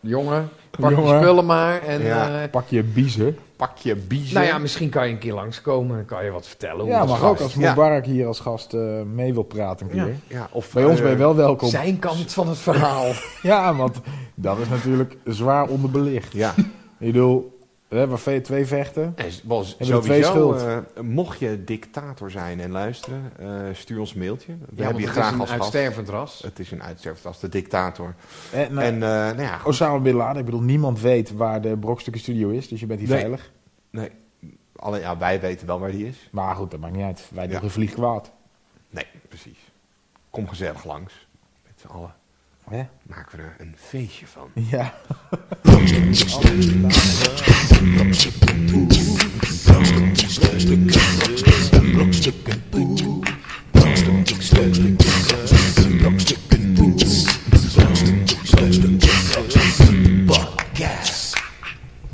D: Jongen, pak
C: Jongen.
D: je spullen maar en...
B: Ja.
D: eh,
C: Pak je biezen.
B: Pak je biezen.
D: nou ja, misschien kan je een keer langskomen en kan je wat vertellen. hoe
C: Ja,
D: het
C: maar
D: gaat.
C: ook als
B: Ja.
C: Mubarak hier als gast eh, mee wil praten een keer.
B: Ja, of,
C: Bij ons
B: eh,
C: ben je wel welkom.
D: Zijn kant van het verhaal.
C: Ja, want dat is natuurlijk zwaar onderbelicht.
B: Ja,
C: Ik bedoel, we hebben ve- twee vechten.
B: en s- wel,
C: we er twee
B: sowieso,
C: schuld?
B: eh, mocht je dictator zijn en luisteren, eh, stuur ons een mailtje. We
D: Ja, want
B: hebben je
D: het
B: graag
D: is een
B: als gast.
D: uitstervend ras.
B: Het is een uitsterft als de dictator.
C: En, nou,
B: en eh, nou ja, goed.
C: Osama Bin Laden, ik bedoel, niemand weet waar de Brokstukken Studio is, dus je bent hier
B: Nee.
C: veilig.
B: Nee, alle, ja, wij weten wel waar die is.
C: Maar goed, dat maakt niet uit. Wij doen
B: Ja.
C: een vlieg kwaad.
B: Nee, precies. Kom gezellig langs. Met z'n allen
C: Hè?
B: maken we er een feestje van.
C: Ja.
A: Brokstukken Podcast.